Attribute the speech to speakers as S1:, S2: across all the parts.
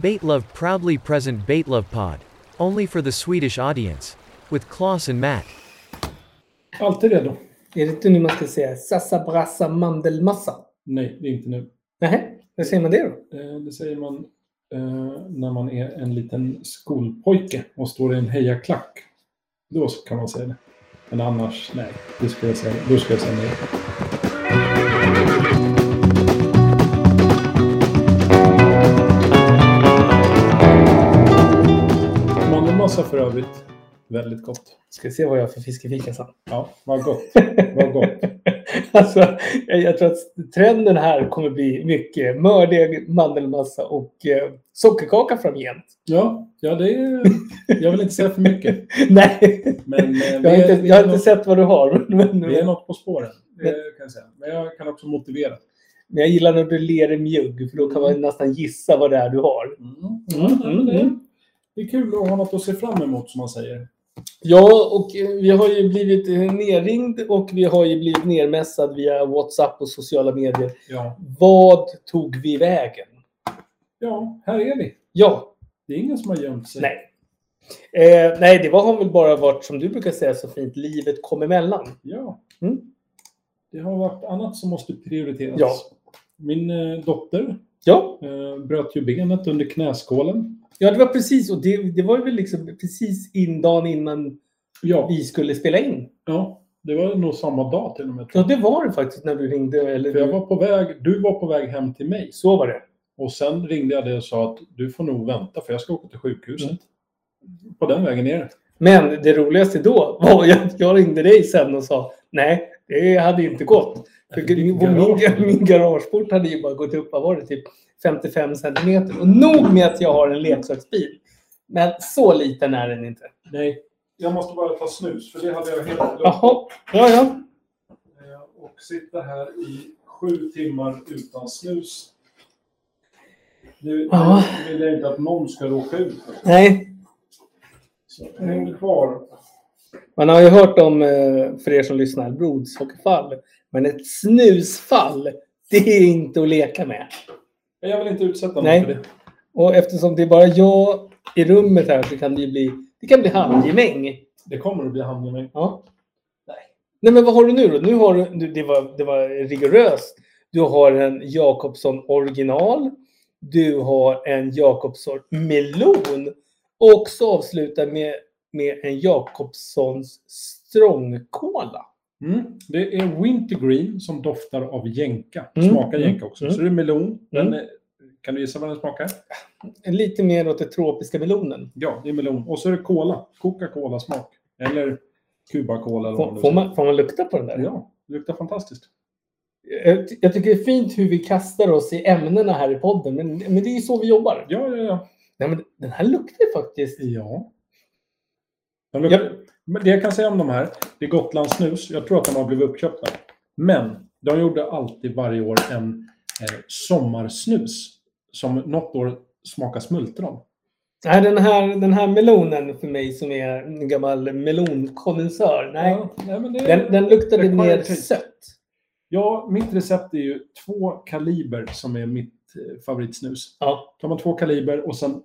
S1: Baitlove proudly present Baitlove Pod. Only for the Swedish audience. With Klaus and Matt.
S2: Alltid redo. Är det inte nu man ska säga sassa brassa mandelmassa?
S3: Nej, det är inte nu.
S2: Nej, hur säger man det då?
S3: Eh, Det säger man eh, när man är en liten skolpojke och står i en hejaklack. Då så kan man säga det. Men annars, nej. Det ska jag säga, då ska jag säga nej. Mandelmassa för övrigt, väldigt gott.
S2: Ska se vad jag har för fiskefika sen.
S3: Ja, vad gott. Vad gott.
S2: alltså, jag, jag tror att trenden här kommer bli mycket mördeg, mandelmassa och eh, sockerkaka framgent.
S3: Ja, ja det är, jag vill inte säga för mycket.
S2: Nej,
S3: Men, eh, vi
S2: jag har
S3: är-
S2: inte,
S3: vi
S2: jag
S3: är
S2: har inte
S3: något-
S2: sett vad du har. Men,
S3: Vi är
S2: men
S3: något på spåren, det kan jag säga. Men jag kan också motivera.
S2: jag gillar när du ler i mjugg för då kan man nästan gissa vad det är du har.
S3: Ja, nej, men det,
S2: mm.
S3: det är kul att ha något att se fram emot, som man säger.
S2: Ja, och eh, vi har ju blivit eh, nerringd och vi har ju blivit nermässad via WhatsApp och sociala medier.
S3: Ja,
S2: Vad tog vi vägen?
S3: ja här är vi.
S2: Ja,
S3: Det är ingen som har gömt sig.
S2: nej. Eh, nej, det var, har väl bara varit som du brukar säga så fint, livet kom emellan.
S3: Ja.
S2: Mm.
S3: Det har varit annat som måste prioriteras.
S2: Ja.
S3: Min eh, dotter
S2: Ja,
S3: eh, bröt ju benet under knäskålen.
S2: ja det var precis och det, det var ju väl liksom precis in dagen innan
S3: Ja,
S2: vi skulle spela in.
S3: ja, det var nog samma dag till och med.
S2: Ja,
S3: Tror
S2: det var det faktiskt när du ringde. Eller
S3: jag. För jag var på väg, du var på väg hem till mig.
S2: Så var det.
S3: Och sen ringde jag dig och sa att du får nog vänta för jag ska åka till sjukhuset. På den vägen ner.
S2: Men det roligaste då var ju att jag ringde dig sen och sa nej, det hade inte gått. För
S3: Ditt
S2: min,
S3: garage.
S2: min, min garageport hade ju bara gått upp, vad var det, typ 55 centimeter. Och nog med att jag har en leksaksbil. Men så liten är den inte.
S3: Nej. Jag måste bara ta snus för det hade jag helt glömt.
S2: Jaha, ja ja.
S3: Eh, Och sitta här i sju timmar utan snus. Nu
S2: Ja.
S3: nu vill jag inte att någon ska råka ut.
S2: Nej,
S3: Så häng kvar.
S2: man har ju hört om, eh, för er som lyssnar, blodsockerfall. Men ett snusfall, det är inte att leka med.
S3: Men Jag vill inte utsätta någon
S2: Nej.
S3: för det.
S2: Och eftersom det är bara jag i rummet här så kan det ju bli, det kan bli handgemäng.
S3: Det kommer att bli handgemäng.
S2: Ja. Nej. Nej, men vad har du nu då? Nu har du, nu- det, var, det var rigoröst. Du har en Jakobsson original. Du har en Jakobsson melon. Och så avslutar med, med en Jakobssons strongkola.
S3: Mm. Det är Wintergreen som doftar av jänka.
S2: Mm.
S3: Smakar jänka också.
S2: Mm.
S3: Så det är melon. Den
S2: Mm.
S3: är, kan du gissa vad den smakar?
S2: Lite mer åt den tropiska melonen.
S3: Ja, det är melon. Och så är det cola. Coca-Cola-smak. Eller Cuba-Cola. eller vad
S2: Får,
S3: du
S2: får,
S3: säger.
S2: man, får man lukta på den där?
S3: Ja, det luktar fantastiskt.
S2: Jag, ty- jag tycker det är fint hur vi kastar oss i ämnena här i podden. Men, men det är ju så vi jobbar.
S3: Ja, ja, ja.
S2: Nej, men den här luktar faktiskt...
S3: ja. De luktar... Men det jag kan säga om de här, det är Gotlandssnus. Jag tror att de har blivit uppköpta. Men de gjorde alltid varje år en eh, sommarsnus som något år smakar smultron.
S2: Nej, den här, den här melonen för mig som är en gammal melonkondensör. Nej,
S3: Ja, nej, men det...
S2: den, den luktade
S3: Det är
S2: mer
S3: quality.
S2: sött.
S3: ja, mitt recept är ju två kaliber som är mitt eh, favoritsnus.
S2: Ja.
S3: tar man två kaliber och sen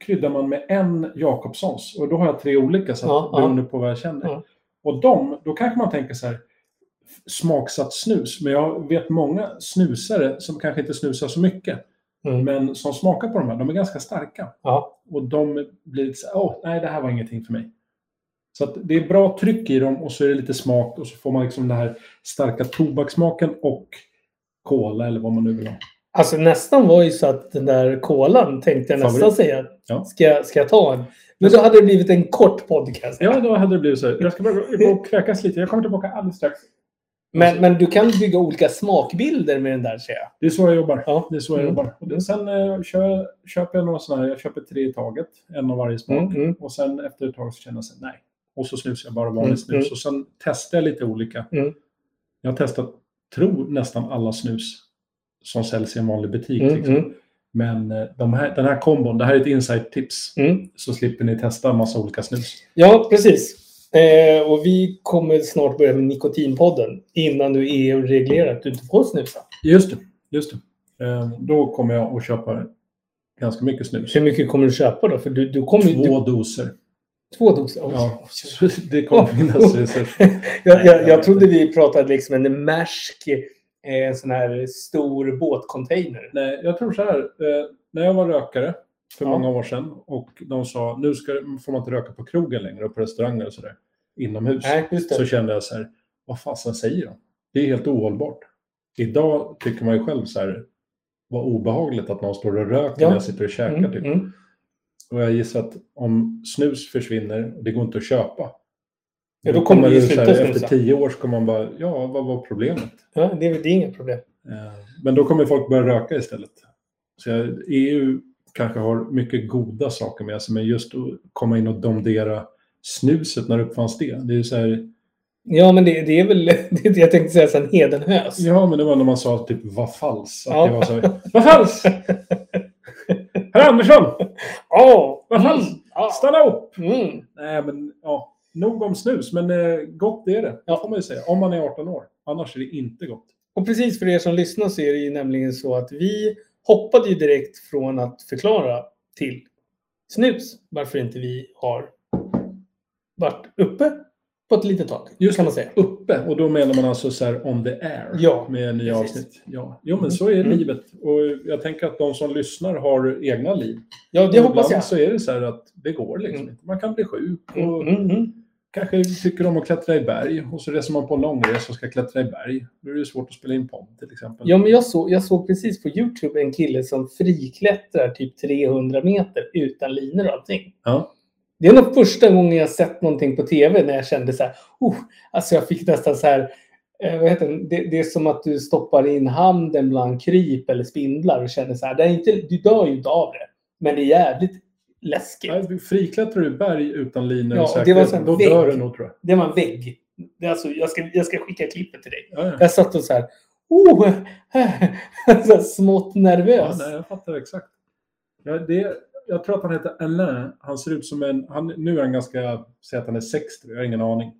S3: kryddar man med en Jakobssons. Och då har jag tre olika så att,
S2: Ja, ja.
S3: beroende på vad jag känner.
S2: Ja.
S3: Och de, då kanske man tänker så här, f- smaksatt snus. Men jag vet många snusare som kanske inte snusar så mycket.
S2: Mm.
S3: Men som smakar på de här, de är ganska starka.
S2: ja.
S3: Och de blir lite så här, åh, nej det här var ingenting för mig. Så att det är bra tryck i dem och så är det lite smak och så får man liksom den här starka tobaksmaken och cola eller vad man nu vill ha.
S2: Alltså nästan var ju så att den där kolan tänkte jag nästan
S3: Favorit.
S2: säga.
S3: Ja.
S2: Ska, ska jag ta en? Men då hade det blivit en kort podcast.
S3: Ja, då hade det blivit så. här. Jag ska bara gå och kräkas lite. Jag kommer tillbaka alldeles strax.
S2: Men, men du kan bygga olika smakbilder med den där ser jag.
S3: Det är så jag jobbar.
S2: Ja.
S3: Det är så jag
S2: Mm.
S3: jobbar. Och det, sen eh, kör, köper jag några sådana här. Jag köper tre i taget. En av varje smak.
S2: Mm, mm.
S3: Och sen efter ett tag så känner jag sig nej. Och så snusar jag bara vanlig
S2: Mm,
S3: snus. Och sen testar jag lite olika.
S2: Mm.
S3: Jag har testat, tror nästan alla snus som säljs i en vanlig butik.
S2: Mm,
S3: liksom.
S2: mm.
S3: Men eh, de här, den här kombon, det här är ett insight-tips.
S2: Mm.
S3: Så slipper ni testa en massa olika snus.
S2: Ja, precis. Eh, och vi kommer snart börja med Nikotinpodden. Innan E nu EU reglerar att du inte får snusa.
S3: Ehm, Just det. Just det. Eh, Då kommer jag att köpa ganska mycket snus.
S2: Hur mycket kommer du köpa då? För du, du kommer ju...
S3: Två
S2: Du,
S3: doser.
S2: två doser? Mm. Oj.
S3: Ja, så det kommer finnas resurser.
S2: Jag, jag, jag trodde vi pratade liksom en Maersk, eh, en sån här stor båtcontainer.
S3: Nej, jag tror så här. Eh, när jag var rökare för
S2: Ja.
S3: många år sedan och de sa nu ska, får man inte röka på krogen längre och på restauranger och sådär inomhus.
S2: Nej, just det.
S3: Så kände jag så här, vad fasen säger de? Det är helt ohållbart. Idag tycker man ju själv så här, vad obehagligt att någon står och röker
S2: Ja.
S3: när jag sitter och käkar.
S2: Mm,
S3: typ.
S2: mm.
S3: Och jag gissar att om snus försvinner, och det går inte att köpa.
S2: Ja, då
S3: Då
S2: kommer vi
S3: det
S2: sluta
S3: så här,
S2: snusa.
S3: Efter tio år så kommer man bara, ja, vad var problemet?
S2: Ja, det, är- det är inget problem.
S3: Eh, Men då kommer folk börja röka istället. Så jag- EU kanske har mycket goda saker med sig, men just att komma in och domdera snuset, när uppfanns det? Det är ju så här,
S2: Ja, men det, det är väl... Det, jag tänkte säga så här, en hedenhös.
S3: ja men det var när man sa typ vad fals. Att
S2: Ja.
S3: det var så här, vad fals! Herr Andersson,
S2: Åh!
S3: vad fals!
S2: ja.
S3: Stanna upp!
S2: Mm.
S3: Nej men ja, nog om snus, men eh, gott är det.
S2: Ja.
S3: Ja. får man ju säga. Om man är 18 år. Annars är det inte gott.
S2: Och precis för er som lyssnar så är det ju nämligen så att vi hoppade ju direkt från att förklara till snus varför inte vi har varit uppe på ett litet tag.
S3: Just
S2: kan man säga.
S3: uppe. Och då menar man alltså så här on the air
S2: Ja,
S3: med nya
S2: precis.
S3: avsnitt. Ja. Jo, men
S2: Mm.
S3: så är
S2: Mm.
S3: livet. Och jag tänker att de som lyssnar har egna liv.
S2: Ja, det
S3: Och
S2: hoppas jag.
S3: Ibland så är det så här att det går liksom
S2: Mm.
S3: inte. Man kan bli sjuk och
S2: Mm, mm, mm.
S3: kanske tycker om att klättra i berg och så reser man på en långresa och ska klättra i berg. Då är det ju svårt att spela in podd till exempel.
S2: Ja, men jag, såg, jag såg precis på YouTube en kille som friklättrar typ 300 meter utan linor och allting.
S3: Ja.
S2: Det är nog första gången jag sett någonting på tv när jag kände så här, oh, alltså jag fick nästan så här, eh, vad heter det? Det, det är som att du stoppar in handen bland kryp eller spindlar och känner så här, det är inte, du dör ju inte av det, men det är jävligt läskigt.
S3: Nej, Friklättrar du i berg utan linor
S2: Ja,
S3: och
S2: och det var
S3: säkerhet,
S2: så här
S3: då
S2: vägg.
S3: dör du nog tror jag.
S2: Det var en vägg. Det är alltså, jag, ska, jag ska skicka klippet till dig.
S3: Ja, ja.
S2: Jag satt och så här, oh, så här smått
S3: Ja,
S2: nervös.
S3: nej, jag fattar exakt. Ja, det, jag tror att han heter Alain. Han ser ut som en, han, nu är han ganska, säg att han är 60, jag har ingen aning.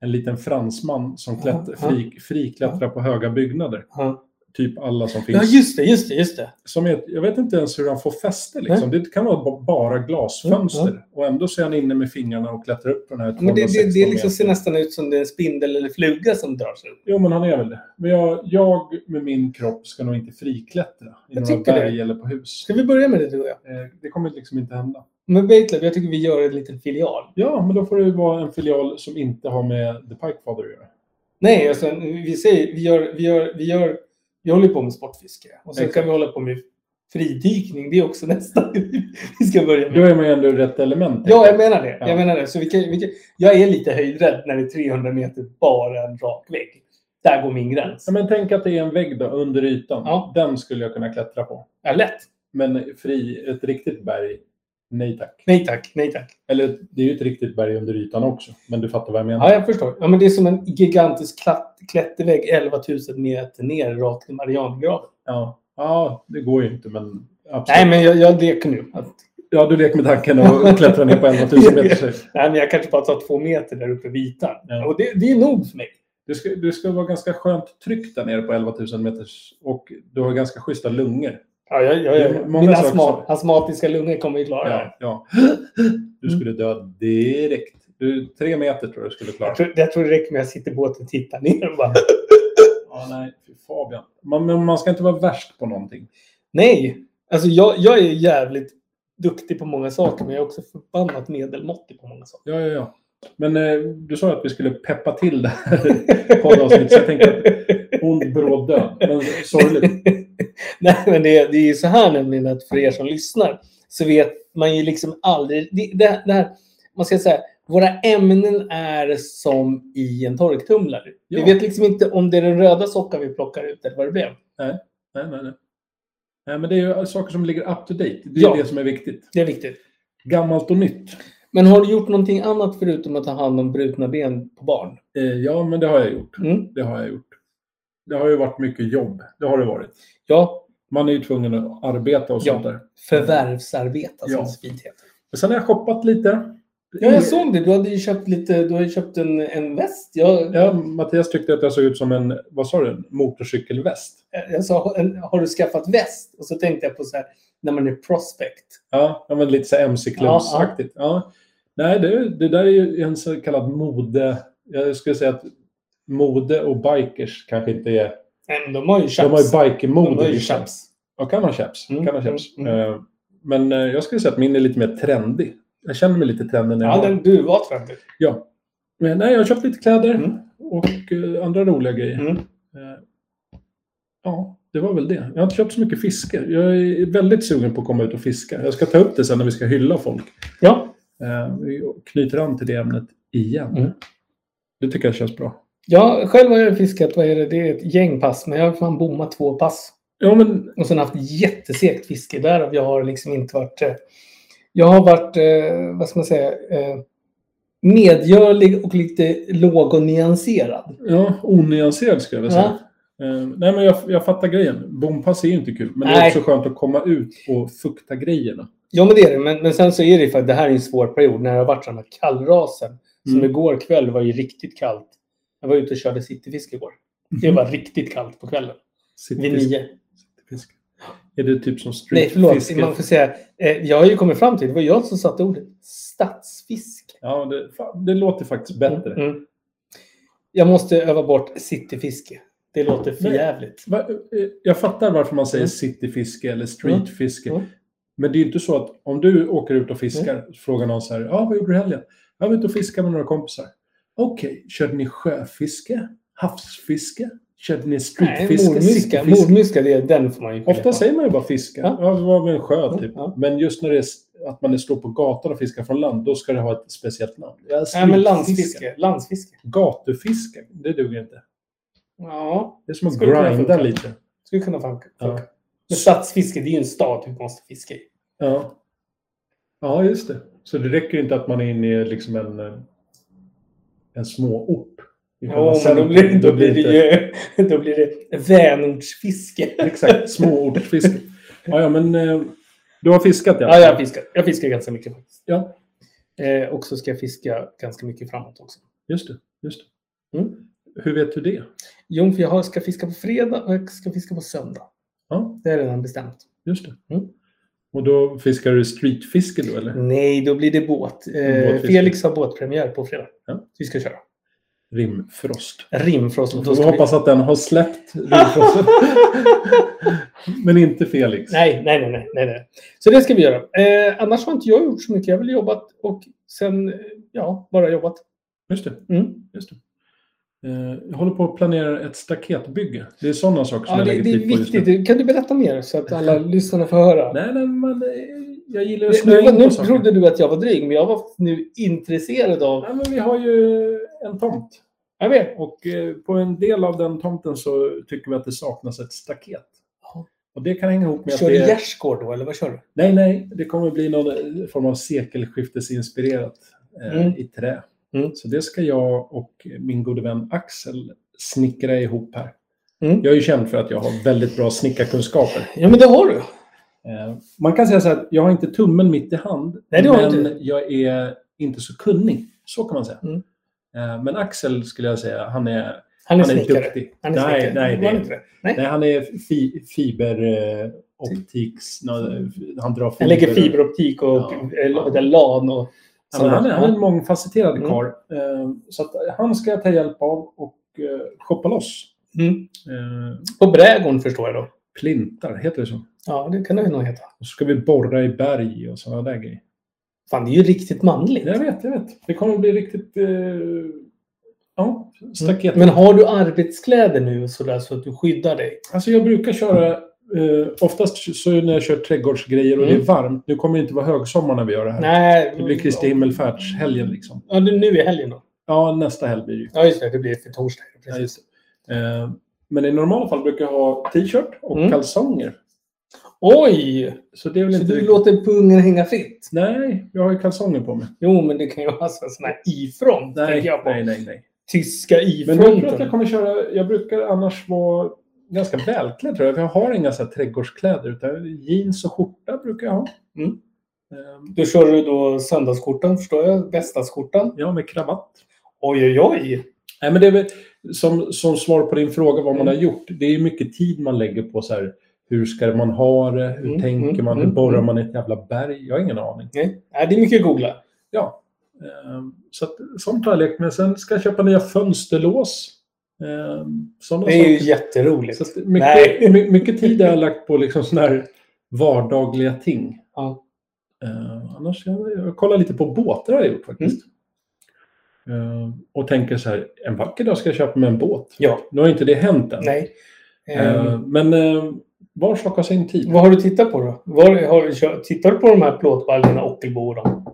S3: En liten fransman som klätt,
S2: Ja, ja.
S3: fri, friklättrar på höga byggnader.
S2: Ja.
S3: Typ alla som
S2: Ja,
S3: finns.
S2: just det, just det, just det.
S3: Som är, jag vet inte ens hur han får fäste. Liksom. Det kan vara ba- bara glasfönster.
S2: Mm,
S3: Och ändå så är han inne med fingrarna och klättrar upp på den här
S2: Men det, det,
S3: 216
S2: det liksom ser
S3: meter.
S2: nästan ut som det är en spindel eller fluga som drar sig upp.
S3: Jo, men han är väl det. Men jag, jag med min kropp ska nog inte friklättra i
S2: Jag
S3: några
S2: tycker det.
S3: berg eller på hus.
S2: Ska vi börja med det du och jag?
S3: Eh, Det kommer liksom inte hända.
S2: Men Baitlab, jag tycker vi gör en liten filial.
S3: Ja, men då får det ju vara en filial som inte har med The Pikefather att göra.
S2: Nej, alltså, vi säger, vi gör, vi gör, vi gör, vi håller på med sportfiske. Och sen kan
S3: Exakt.
S2: vi hålla på med fridykning. Det är också nästa vi ska börja
S3: Då
S2: med.
S3: är man ju ändå i rätt element.
S2: Ja, jag menar det.
S3: Ja.
S2: Jag menar det. Så vi kan, vi kan, jag är lite höjdrädd när det är 300 meter bara en rak vägg. Där går min gräns.
S3: Ja, men tänk att det är en vägg då, under ytan.
S2: Ja.
S3: Den skulle jag kunna klättra på.
S2: Ja, lätt.
S3: Men fri, ett riktigt berg, nej tack.
S2: Nej tack, nej tack.
S3: Eller det är ju ett riktigt berg under ytan också, men du fattar vad jag menar.
S2: Ja, jag förstår. Ja, men det är som en gigantisk klatt, klättervägg 11 000 meter ner rakt till Marianergraven.
S3: Ja, ja det går ju inte, men absolut.
S2: Nej, men jag, jag leker nu. Att,
S3: Ja, du leker med tanken och klättrar ner på 11 000 meter. så-
S2: nej, men jag kanske bara tar två meter där uppe vid ytan.
S3: Ja.
S2: Och det, det är nog för mig.
S3: Det ska, det ska vara ganska skönt tryck där nere på 11 000 meters och du har ganska schyssta lungor.
S2: Ja, jag, jag,
S3: Det
S2: jag,
S3: är många
S2: mina
S3: saker
S2: astma,
S3: som-
S2: astmatiska lungor kommer ju klara det här.
S3: Ja, ja. Du skulle dö direkt. Du, tre meter tror jag du skulle klara.
S2: jag tror, jag tror det räcker med att jag sitter i båten och tittar ner och bara
S3: Ja, nej, fy Fabian. Man, men man ska inte vara värst på någonting.
S2: Nej! Alltså jag, jag är jävligt duktig på många saker men jag är också förbannat medelmåttig på många saker.
S3: Ja, ja, ja. Men eh, du sa ju att vi skulle peppa till det här poddavsnittet. Så jag tänkte att ond, bråd, död. Men sorgligt.
S2: Nej, men det, det är ju så här nämligen att för er som lyssnar så vet man ju liksom aldrig... Det, det, det här, man ska säga, våra ämnen är som i en torktumlare.
S3: Ja.
S2: Vi vet liksom inte om det är den röda sockan vi plockar ut eller vad det blev.
S3: Nej, nej, nej. Nej, men det är ju saker som ligger up to date. Det är
S2: Ja.
S3: det som är viktigt.
S2: Det är viktigt.
S3: Gammalt och nytt.
S2: Men har du gjort någonting annat förutom att ta hand om brutna ben på barn?
S3: Eh, ja, men det har jag gjort.
S2: Mm.
S3: Det har jag gjort. Det har ju varit mycket jobb. Det har det varit.
S2: Ja,
S3: Man är ju tvungen att arbeta och
S2: Ja.
S3: sånt där.
S2: förvärvsarbeta som
S3: Ja.
S2: så fint heter. Mm.
S3: Men sen har jag shoppat lite.
S2: Ja, jag såg det. Du hade ju köpt, lite, du hade köpt en, en väst. Jag,
S3: Ja, Mattias tyckte att jag såg ut som en, vad sa du, en motorcykelväst.
S2: jag sa, har du skaffat väst? Och så tänkte jag på så här, när man är prospect.
S3: Ja, ja men lite så här mc-klubbsaktigt. Ja, Nej, det, det där är ju en så kallad mode... Jag skulle säga att mode och bikers kanske inte är...
S2: Men de har ju chaps.
S3: De har ju bikermode.
S2: De har ju
S3: liksom.
S2: chaps.
S3: Ja, kan ha chaps.
S2: Mm,
S3: Kan ha chaps.
S2: mm, mm.
S3: Eh, Men eh, jag skulle säga att min är lite mer trendig. Jag känner mig lite trendig när jag
S2: Ja,
S3: har-
S2: den du var trendig.
S3: Ja. Men nej, jag har köpt lite kläder
S2: Mm.
S3: och eh, andra roliga grejer.
S2: Mm.
S3: Eh, ja, det var väl det. Jag har inte köpt så mycket fiske. Jag är väldigt sugen på att komma ut och fiska. Jag ska ta upp det sen när vi ska hylla folk.
S2: Ja.
S3: Eh, vi knyter an till det ämnet igen.
S2: Mm.
S3: Det tycker jag känns bra.
S2: ja, själv har jag fiskat, vad är det, det är ett gäng pass, men jag har fan bommat två pass.
S3: Ja, men
S2: Och sen haft jättesegt fiske. Därav jag har liksom inte varit... eh, Jag har varit, eh, vad ska man säga, eh, medgörlig och lite låg och nyanserad.
S3: ja, onyanserad skulle jag vilja säga. Eh, nej, men jag, jag fattar grejen. Bompass är ju inte kul, men det är
S2: Nej.
S3: också skönt att komma ut och fukta grejerna.
S2: Ja, men det är det. Men, men sen så är det ju för att det här är en svår period när det har varit sådana kallrasen. Som
S3: Mm.
S2: igår kväll var ju riktigt kallt. Jag var ute och körde cityfiske igår. Det var riktigt kallt på kvällen. Vid
S3: Cityfiske.
S2: nio.
S3: Cityfiske. Är det typ som
S2: Nej, förlåt.
S3: streetfiske?
S2: Man får säga, eh, jag har ju kommit fram till, det var jag som satte ordet, stadsfiske.
S3: Ja, det, fan, det låter faktiskt bättre.
S2: Mm. Jag måste öva bort cityfiske. Det låter för
S3: Nej.
S2: jävligt.
S3: Va- eh, Jag fattar varför man säger
S2: Mm.
S3: cityfiske eller streetfiske.
S2: Mm. Mm.
S3: Men det är ju inte så att om du åker ut och fiskar frågar någon så här, ja, vad gjorde du i helgen? Jag var ute och fiskade med några kompisar. Okej, körde ni sjöfiske? Havsfiske? Körde ni
S2: Nej,
S3: streetfiske?
S2: mordmyska,
S3: cityfiske?"
S2: mordmyska, det är den får man ju
S3: Ofta säger man ju bara fiska.
S2: Ja. Mm,
S3: Ja, vi var vid en sjö typ.
S2: Ja.
S3: Men just när det är s- att man är- står på gatan och fiskar från land, då ska det ha ett speciellt namn. Ja,
S2: Nej, men
S3: streetfiske.
S2: landsfiske. Landsfiske.
S3: Gatufiske, det duger inte.
S2: Ja,
S3: Det är som att
S2: Skulle kunna
S3: grinda
S2: funka.
S3: lite.
S2: skulle kunna funka.
S3: Ja.
S2: Men stadsfiske, det är ju en stad vi måste fiska i.
S3: Ja. ja, just det. Så det räcker inte att man är inne i liksom en, eh, en småort. I själva
S2: Ja, men då
S3: centrum.
S2: blir, då
S3: Då
S2: blir det
S3: inte-
S2: ju då blir det vänortsfiske.
S3: Exakt, småortsfiske. ja, ja, men eh, du har fiskat i alla
S2: Ja,
S3: fall.
S2: jag fiskar. Jag fiskar ganska mycket faktiskt.
S3: Ja.
S2: Eh, och så ska jag fiska ganska mycket framåt också.
S3: Just det. Just det.
S2: Mm.
S3: Hur vet du det?
S2: Jo, för jag har- ska fiska på fredag och jag ska fiska på söndag.
S3: Ja,
S2: Det är redan bestämt.
S3: just det.
S2: Mm.
S3: Och då fiskar du streetfiske då, eller?
S2: Nej, då blir det båt. Eh,
S3: Båtfiske.
S2: Felix har båtpremiär på fredag.
S3: Ja.
S2: Vi ska köra.
S3: Rimfrost.
S2: Rimfrost.
S3: Vi
S2: Då
S3: får
S2: ska vi...
S3: hoppas att den har släppt rimfrosten. men inte Felix.
S2: Nej, nej, nej, nej, nej, nej. Så det ska vi göra. Eh, annars har inte jag gjort så mycket. Jag har väl jobbat och sen, eh, ja, bara jobbat.
S3: Just det.
S2: Mm.
S3: Just det. Eh, Jag håller på att planera ett staketbygge. Det är sådana saker som
S2: Ja,
S3: jag
S2: det,
S3: lägger
S2: det är
S3: tid på just nu.
S2: viktigt. Kan du berätta mer så att alla lyssnarna får höra?
S3: Nej, nej, men eh, jag gillar att
S2: Det-
S3: snöa
S2: Nu,
S3: in
S2: nu
S3: på saker.
S2: trodde du att jag var dryg, men jag var nu intresserad av...
S3: Nej, men vi har ju en tomt.
S2: Jag vet.
S3: Och eh, på en del av den tomten så tycker vi att det saknas ett staket.
S2: Ja.
S3: Och det kan hänga ihop med
S2: Kör
S3: att
S2: du
S3: det...
S2: gärdsgård då, eller vad kör du?
S3: Nej, nej. Det kommer bli någon eh, form av sekelskiftesinspirerat eh,
S2: Mm.
S3: i trä.
S2: Mm.
S3: Så det ska jag och min gode vän Axel snickra ihop här.
S2: Mm.
S3: Jag är ju känd för att jag har väldigt bra snickarkunskaper.
S2: Ja, men det har du.
S3: Eh, Man kan säga så här, att jag har inte tummen mitt i hand,
S2: Nej, det har
S3: men
S2: du inte.
S3: jag är inte så kunnig. Så kan man säga.
S2: Mm.
S3: Eh, Men Axel skulle jag säga, han är,
S2: Han är
S3: han är
S2: snickare.
S3: duktig.
S2: Han är
S3: nej,
S2: snickare.
S3: nej, det,
S2: Var
S3: är-
S2: inte det. Nej.
S3: nej, han är fi, eh, fiberoptiks... eh, Han drar fiber.
S2: Typ. Han lägger fiberoptik och
S3: Ja.
S2: ja. LAN och
S3: Ja, men han, är, han är en mångfacetterad
S2: Mm.
S3: karl. Eh, Så att han ska jag ta hjälp av och eh, shoppa loss.
S2: Mm.
S3: Eh,
S2: På Brädgården förstår jag då.
S3: Plintar, heter det så?
S2: Ja, det kan det ju nog heta.
S3: Och så ska vi borra i berg och sådana där grejer.
S2: Fan, det är ju riktigt manligt.
S3: Jag vet, jag vet. Det kommer bli riktigt... Eh, ja, staket.
S2: Mm. Men har du arbetskläder nu sådär, så att du skyddar dig?
S3: Alltså jag brukar köra... Eh, oftast så när jag kör trädgårdsgrejer och
S2: Mm.
S3: det är varmt. Nu kommer det inte vara högsommar när vi gör det här.
S2: Nej.
S3: Det blir Kristi himmelfärdshelgen liksom.
S2: Ja, det är nu i helgen då.
S3: Ja, nästa helg blir det ju.
S2: Ja, just det. Det blir för torsdag.
S3: Ja,
S2: Precis.
S3: just det. Eh, men i normala fall brukar jag ha t-shirt och
S2: Mm.
S3: kalsonger.
S2: Oj!
S3: Så det är väl
S2: Så
S3: inte...
S2: du låter pungen hänga fritt?
S3: Nej, jag har ju kalsonger på mig.
S2: Jo, men det kan ju vara så- sån här ifrån. tänker
S3: Nej,
S2: jag på.
S3: nej, nej. nej.
S2: Tyska
S3: Men jag
S2: ifrån.
S3: tror att jag kommer köra... Jag brukar annars vara ganska välklädd tror jag. För jag har inga så här trädgårdskläder. Utan jeans och skjorta brukar jag ha.
S2: Mm.
S3: Ehm,
S2: Då kör du då söndagskorten, förstår jag. Bästaskjortan.
S3: Ja, med kravatt.
S2: Oj, oj, oj.
S3: Nej, men det är väl, som, som svar på din fråga vad man
S2: Mm.
S3: har gjort. Det är mycket tid man lägger på så här, Hur ska man ha det? Hur
S2: Mm,
S3: tänker
S2: mm,
S3: man? hur
S2: mm,
S3: borrar
S2: mm.
S3: man i ett jävla berg? Jag har ingen aning.
S2: Nej, nej, det är mycket att googla.
S3: Ja, ehm, så att, sånt har jag lekt med. Sen ska jag köpa nya fönsterlås. Ehm, Sådana
S2: Det är ju
S3: saker.
S2: jätteroligt.
S3: Så att
S2: Nej.
S3: mycket, my- mycket tid har jag lagt på liksom såna här vardagliga ting.
S2: Ja.
S3: Eh, annars jag, jag kollar lite på båtar har jag gjort faktiskt.
S2: Mm.
S3: Eh, och tänker så här, en vacker dag ska jag köpa mig en båt.
S2: Ja.
S3: Nu har inte det hänt än.
S2: Nej.
S3: Eh,
S2: Ehm,
S3: men eh, var sak har sin tid.
S2: vad har du tittat på då? Var, har, du kö- tittar du på de här plåtbaljorna, Ockelbo och dem?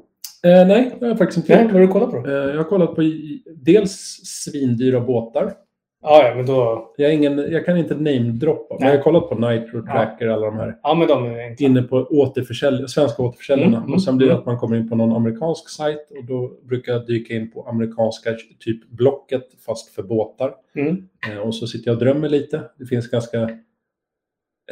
S3: Eh, nej, det har jag faktiskt inte
S2: Nej,
S3: gjort.
S2: vad har du kollat på?
S3: Eh, jag har kollat på i- dels svindyra båtar.
S2: Ja, ja, men då...
S3: Jag, är ingen, jag kan inte namedroppa, men
S2: Nej.
S3: jag har kollat på Nitro Tracker, alla de här.
S2: Ja, men de är enkla.
S3: inne på återförsälj- svenska återförsäljarna.
S2: Mm, mm,
S3: och sen blir det
S2: mm.
S3: att man kommer in på någon amerikansk sajt och då brukar jag dyka in på amerikanska typ Blocket fast för båtar.
S2: Mm.
S3: Eh, och så sitter jag och drömmer lite. Det finns ganska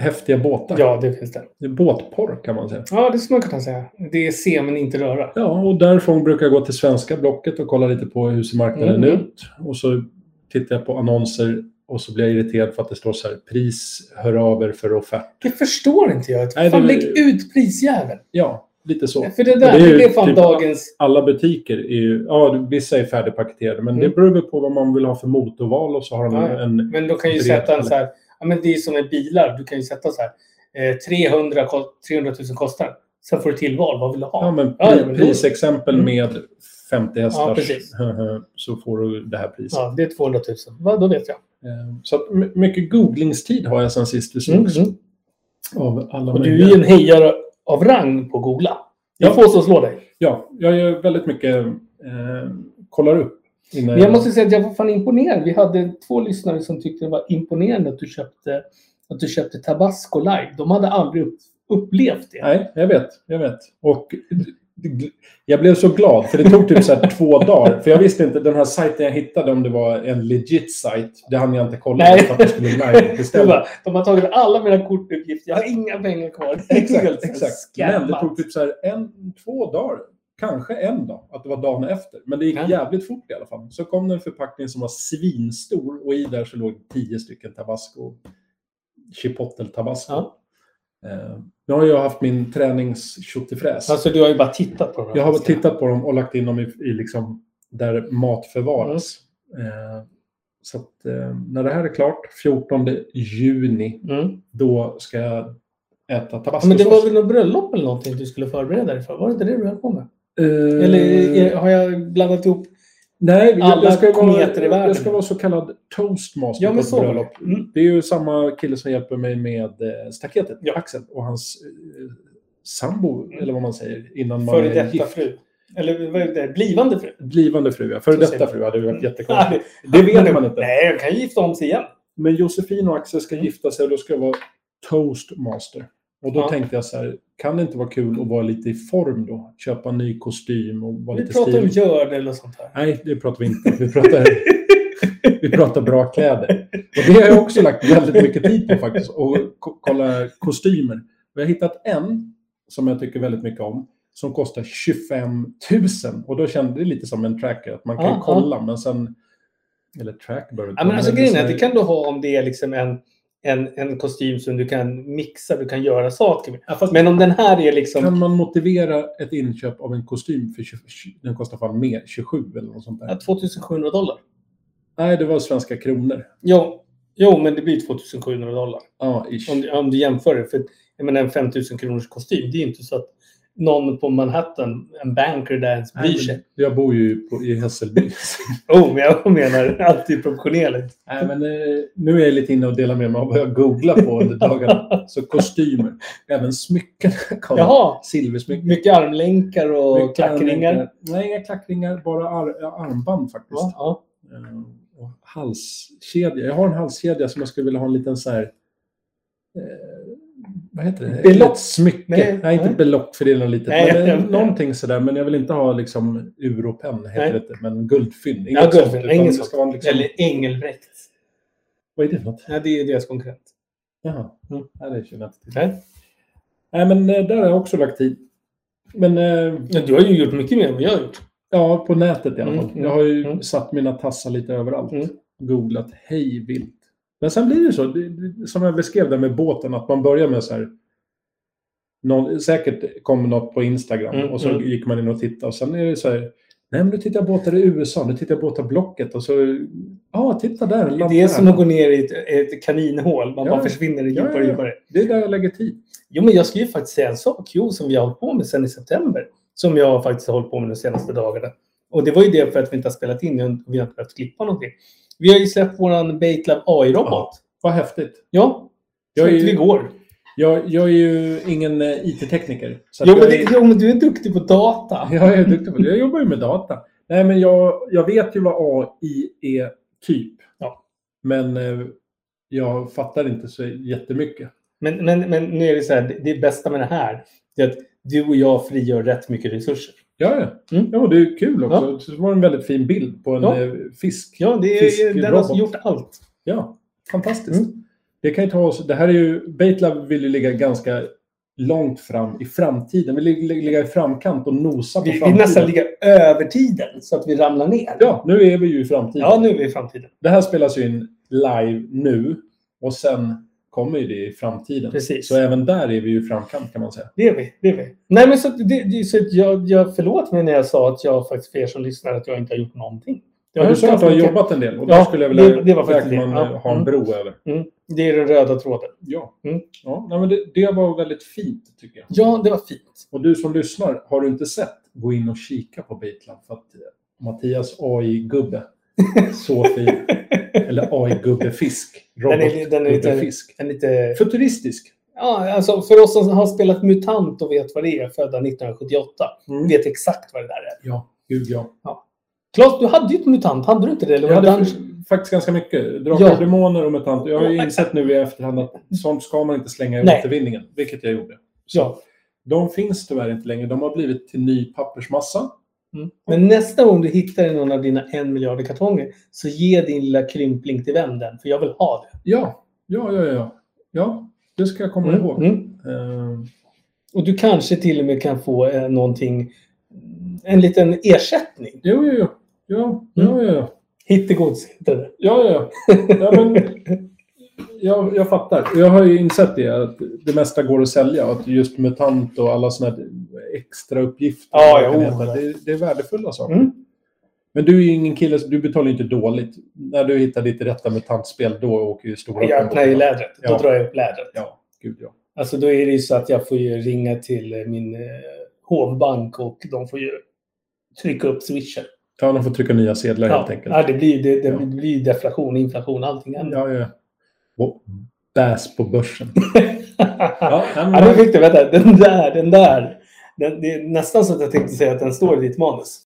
S3: häftiga båtar.
S2: Ja, det finns det.
S3: Det är båtporr kan man säga.
S2: Ja, det skulle man kunna säga. Det är se men inte röra.
S3: Ja, och därifrån brukar jag gå till svenska Blocket och kolla lite på hur ser marknaden
S2: Mm, mm.
S3: ut. Och så tittar jag på annonser och så blir jag irriterad för att det står så här pris, hör av er för offert.
S2: Det förstår inte jag.
S3: Nej,
S2: fan,
S3: det-
S2: lägg ut prisjäveln.
S3: Ja, lite så.
S2: För det där,
S3: Det är
S2: det,
S3: ju
S2: blev fan
S3: typ-
S2: dagens...
S3: alla butiker är ju, ja vissa är färdigpaketerade, men
S2: Mm.
S3: det beror väl på vad man vill ha för motorval och så har de
S2: Ja, ja.
S3: en...
S2: Men då kan ju
S3: Bred-
S2: sätta en så här... Ja, men det är som med bilar. Du kan ju sätta så här... eh, 300, ko- 300 000 kostar den. Sen får du tillval. Vad vill du ha?
S3: Ja, men
S2: Ja,
S3: pri,
S2: ja, men då-
S3: prisexempel
S2: Mm.
S3: med 50
S2: Ja,
S3: hästars
S2: precis.
S3: så får du det här priset.
S2: Ja, det är 200 000. Va, då vet jag.
S3: Eh, Så att my- mycket googlingstid har jag sen sist vi
S2: Mm,
S3: slogs.
S2: mm.
S3: Av alla
S2: Och du är
S3: möjliga.
S2: ju en hejare av rang på att googla. Det
S3: mm. Ja.
S2: får så slå dig.
S3: Ja, jag gör väldigt mycket, eh, kollar upp. Innan
S2: Men jag måste säga att jag var fan imponerad. Vi hade två lyssnare som tyckte det var imponerande att du köpte, att du köpte Tabasco live. De hade aldrig upp, upplevt det.
S3: Nej, jag vet. Jag vet. Och det- jag blev så glad, för det tog typ så här två dagar. För jag visste inte, den här sajten jag hittade, om det var en legit sajt. Det hann jag inte kolla
S2: Nej.
S3: för att jag skulle
S2: Det
S3: livebeställa.
S2: var- De har tagit alla mina kortuppgifter. Jag har inga pengar kvar. Det är helt
S3: Exakt,
S2: så
S3: exakt.
S2: skammat.
S3: Men det tog typ så här en, två dagar. Kanske en dag, att det var dagen efter. Men det gick
S2: Ja.
S3: jävligt fort i alla fall. Så kom det en förpackning som var svinstor och i där så låg tio stycken tabasco. Chipotle tabasco.
S2: Ja.
S3: Eh, nu har jag haft min tränings tjottifräs.
S2: Alltså du har ju bara tittat på de här
S3: Jag har
S2: maskerna.
S3: tittat på dem och lagt in dem i, i liksom där mat förvaras. Eh, så att, eh, när det här är klart, 14 juni,
S2: Mm.
S3: då ska jag äta
S2: Ja, Men det
S3: tabascosås.
S2: var väl något bröllop eller någonting du skulle förbereda dig för? Var det inte det du höll på med?
S3: Eh,
S2: Eller är, har jag blandat ihop
S3: nej, jag-
S2: alla
S3: jag ska vara,
S2: kometer i världen?
S3: Jag ska vara så kallad toastmaster
S2: Ja,
S3: på
S2: men
S3: ett
S2: så var
S3: bröllop.
S2: det. Mm.
S3: Det är ju samma kille som hjälper mig med eh, staketet,
S2: Ja. Mm.
S3: Axel, och hans eh, sambo, eller vad man säger, innan man
S2: Före
S3: är
S2: detta
S3: gift.
S2: fru. Eller vad är det? Blivande fru.
S3: Blivande fru, ja. Före
S2: Så säger
S3: detta
S2: man. Mm.
S3: fru hade ju varit jättekonstigt.
S2: Nej,
S3: Det vet man inte.
S2: Nej, jag kan gifta om sig igen.
S3: Men Josefin och Axel ska
S2: Mm.
S3: gifta sig och då ska jag vara toastmaster. Och då
S2: Ja.
S3: tänkte jag så här, kan det inte vara kul att vara lite i form då? Köpa en ny kostym och vara
S2: Vi
S3: lite
S2: pratar om
S3: stilig.
S2: gördel och sånt här.
S3: Nej, det pratar vi inte. Vi pratar, vi pratar bra kläder. Och det har jag också lagt väldigt mycket tid på faktiskt. Och ko- kolla kostymer. Och jag har hittat en som jag tycker väldigt mycket om. Som kostar 25 000. Och då kände det lite som en tracker. Att man kan
S2: Ja,
S3: kolla, men sen... Eller track behöver
S2: Ja, men alltså, grejen är att det kan du ha om det är liksom en, en, en kostym som du kan mixa, du kan göra saker med.
S3: Ja, fast
S2: Men om den här är liksom...
S3: Kan man motivera ett inköp av en kostym för 20, den kostar fan mer, 27 eller något sånt där?
S2: ja, 2700 dollar.
S3: Nej, det var svenska kronor.
S2: Jo, jo, men det blir 2700 dollar.
S3: Ja, ish.
S2: Om, du- om du jämför det. För jag menar, en 5000 kronors kostym, det är ju inte så att någon på Manhattan, en banker där ens
S3: Nej,
S2: bryr
S3: men
S2: sig.
S3: Jag bor ju på, i Hässelby.
S2: Oh, men jag menar alltid proportionerligt.
S3: Nej, men eh, nu är jag lite inne och delar med mig av vad jag googlar på under dagarna. Så kostymer, även smycken. kom.
S2: Jaha,
S3: Silversmycken.
S2: mycket armlänkar och
S3: Mycket
S2: klackringar.
S3: armband. Nej, inga klackringar, bara ar armband faktiskt.
S2: Ja, ja.
S3: Eh, och halskedja. Jag har en halskedja som jag skulle vilja ha en liten så här... Eh, vad heter det?
S2: Belopp.
S3: Ett Smycke.
S2: Nej,
S3: Nej, inte
S2: nej.
S3: belopp för det är något litet.
S2: Nej,
S3: men,
S2: jag-
S3: eh, någonting sådär. Men jag vill inte ha liksom europenn, heter
S2: Nej.
S3: det inte. Men guldfynd.
S2: Ja, guldfynd.
S3: sånt,
S2: Inget
S3: utan det
S2: sånt.
S3: ska vara liksom,
S2: Eller Engelbrekt.
S3: Vad är det för något?
S2: Ja, det är deras konkurrent.
S3: Jaha.
S2: Mm.
S3: Nej, det känner jag inte till.
S2: Nej.
S3: Nej, men eh, där har jag också lagt tid. Men eh,
S2: Men du har ju gjort mycket mer än vad jag har gjort.
S3: ja, på nätet i alla
S2: Mm,
S3: fall.
S2: mm,
S3: Jag har ju
S2: mm.
S3: satt mina tassar lite överallt.
S2: Mm.
S3: Googlat hej vilt. Men sen blir det så, det- det- som jag beskrev där med båten, att man börjar med så här... Någon, säkert kom något på Instagram
S2: Mm,
S3: och så
S2: mm.
S3: gick man in och tittade och sen är det så här... Nej, men nu tittar jag båtar i USA, nu tittar jag båtar Blocket och så... Ja, ah, titta där! en
S2: Det är
S3: lampa.
S2: som att gå ner i ett, ett kaninhål. Man
S3: Ja,
S2: bara försvinner i
S3: ja,
S2: djupare och
S3: ja.
S2: djupare.
S3: Det är där jag lägger tid.
S2: Jo, men jag ska ju faktiskt säga en sak. Jo, som vi har hållit på med sedan i september. Som jag faktiskt har hållit på med de senaste dagarna. Och det var ju det för att vi inte har spelat in och vi har inte behövt klippa någonting. Vi har ju släppt våran Baitlab AI-robot.
S3: Vad häftigt.
S2: Ja,
S3: Jag är
S2: släppte vi
S3: ju,
S2: igår.
S3: jag, jag är ju ingen eh, IT-tekniker. så att
S2: Jo
S3: jag
S2: men,
S3: är-
S2: det, jo, men du är duktig på data.
S3: Jag är duktig på det. Jag jobbar ju med data. Nej, men jag, jag vet ju vad AI är typ.
S2: Ja.
S3: Men eh, jag fattar inte så jättemycket.
S2: Men, men, men nu är det så här, det, det bästa med det här det är att du och jag frigör rätt mycket resurser.
S3: Ja, ja.
S2: Mm.
S3: ja det är kul också. Det var en väldigt fin bild på en
S2: Ja.
S3: eh, fisk.
S2: Ja, det är,
S3: Fiskrobot.
S2: den har gjort allt.
S3: Ja, fantastiskt.
S2: Mm.
S3: Det kan ju ta oss... Det här är ju... Baitlab vill ju ligga ganska långt fram i framtiden. Vi ligger ligga i framkant och nosa på
S2: Vi vill
S3: framtiden.
S2: nästan ligga över tiden så att vi ramlar ner.
S3: Ja, nu är vi ju i framtiden.
S2: ja nu är vi i framtiden.
S3: Det här spelas ju in live nu och sen kommer ju det i framtiden.
S2: Precis.
S3: Så även där är vi ju i framkant kan man säga.
S2: Det är vi. Det är vi. Nej, men så, att det, det, så att jag, jag förlåt mig när jag sa att jag faktiskt för er som lyssnar att jag inte har gjort någonting.
S3: Jag
S2: Jag har
S3: du
S2: gjort
S3: sa att du har
S2: ganska mycket.
S3: jobbat en del och
S2: Ja,
S3: då skulle jag vilja
S2: det- det var faktiskt
S3: verkligen
S2: det. Ja. Mm.
S3: eh, ha en bro över.
S2: Det är den röda tråden.
S3: Ja,
S2: Mm.
S3: ja nej, men det, det var väldigt fint tycker jag.
S2: Ja, det var fint.
S3: Och du som lyssnar, har du inte sett, gå in och kika på Baitlab för att eh, Mattias AI-gubbe, så fin. Eller AI-gubbefisk.
S2: är- den är lite-
S3: Robotgubbefisk.
S2: En lite
S3: Futuristisk.
S2: Ja, alltså för oss som har spelat MUTANT och vet vad det är, födda 1978,
S3: Mm.
S2: vet exakt vad det där är.
S3: Ja, gud ja.
S2: Claes, du hade ju ett MUTANT, hade du inte det? Eller
S3: Jag
S2: var det
S3: hade
S2: Dungeon?
S3: f- faktiskt ganska mycket. Drakar
S2: Ja.
S3: och demoner och mutanter. Jag har ju
S2: Ja. Mm.
S3: insett nu i efterhand att sånt ska man inte slänga i
S2: Nej.
S3: återvinningen, vilket jag gjorde. Så
S2: Ja.
S3: De finns tyvärr inte längre. De har blivit till ny pappersmassa.
S2: Mm. Men nästa gång du hittar någon av dina en miljard kartonger, så ge din lilla krympling till vem den, för jag vill ha det.
S3: Ja, ja, ja, ja. Ja, det ska jag komma
S2: Mm,
S3: ihåg.
S2: mm.
S3: Eh,
S2: Och du kanske till och med kan få eh, någonting, en liten ersättning.
S3: jo, jo, jo. Ja, ja,
S2: Mm.
S3: ja, ja.
S2: Hittegods heter det.
S3: Ja, ja, ja. ja men, jag, jag fattar. Jag har ju insett det, att det mesta går att sälja. och Att just MUTANT och alla såna här extra uppgifter.
S2: Ja,
S3: vad det
S2: ja,
S3: kan
S2: oh,
S3: heta,
S2: ja.
S3: det, det är värdefulla saker.
S2: Mm.
S3: Men du är ju ingen kille, så du betalar ju inte dåligt. När du hittar ditt rätta MUTANT-spel, då åker ju stora...
S2: Jag öppnar ju lädret. Då
S3: Ja.
S2: drar jag upp lädret.
S3: Ja, gud ja.
S2: Alltså då är det ju så att jag får ju ringa till eh, min eh, hovbank och de får ju trycka upp swishen.
S3: Ja, de får trycka nya sedlar helt enkelt.
S2: ja, det blir det, det
S3: Ja.
S2: blir deflation, inflation, allting annat.
S3: Ja, ja. Och bäs på börsen.
S2: Ja.
S3: Ja, nej,
S2: ja, nu
S3: men,
S2: fick du, vänta, den där, den där. Den, det är nästan så att jag tänkte säga att den står i ditt manus.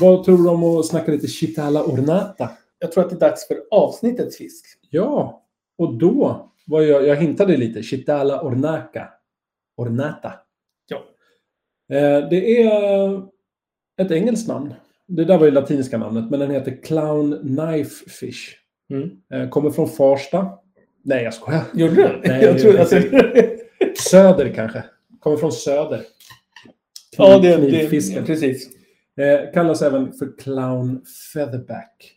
S3: vad tror du om att snacka lite Chitala Ornata?
S2: Jag tror att det är dags för avsnittets fisk.
S3: Ja, och då var jag, jag hintade lite. Chitala Ornaka. Ornata.
S2: Ja.
S3: Eh, det är ett engelskt namn. Det där var ju latinska namnet, men den heter Clown Knife Fish.
S2: Mm.
S3: Eh, kommer från Farsta. Nej, jag skojar.
S2: Gjorde du?
S3: Nej,
S2: jag tror,
S3: jag-
S2: alltså,
S3: Söder kanske. Kommer från söder.
S2: ja, det, det,
S3: Knivfisken.
S2: precis.
S3: Eh, kallas även för Clown Featherback.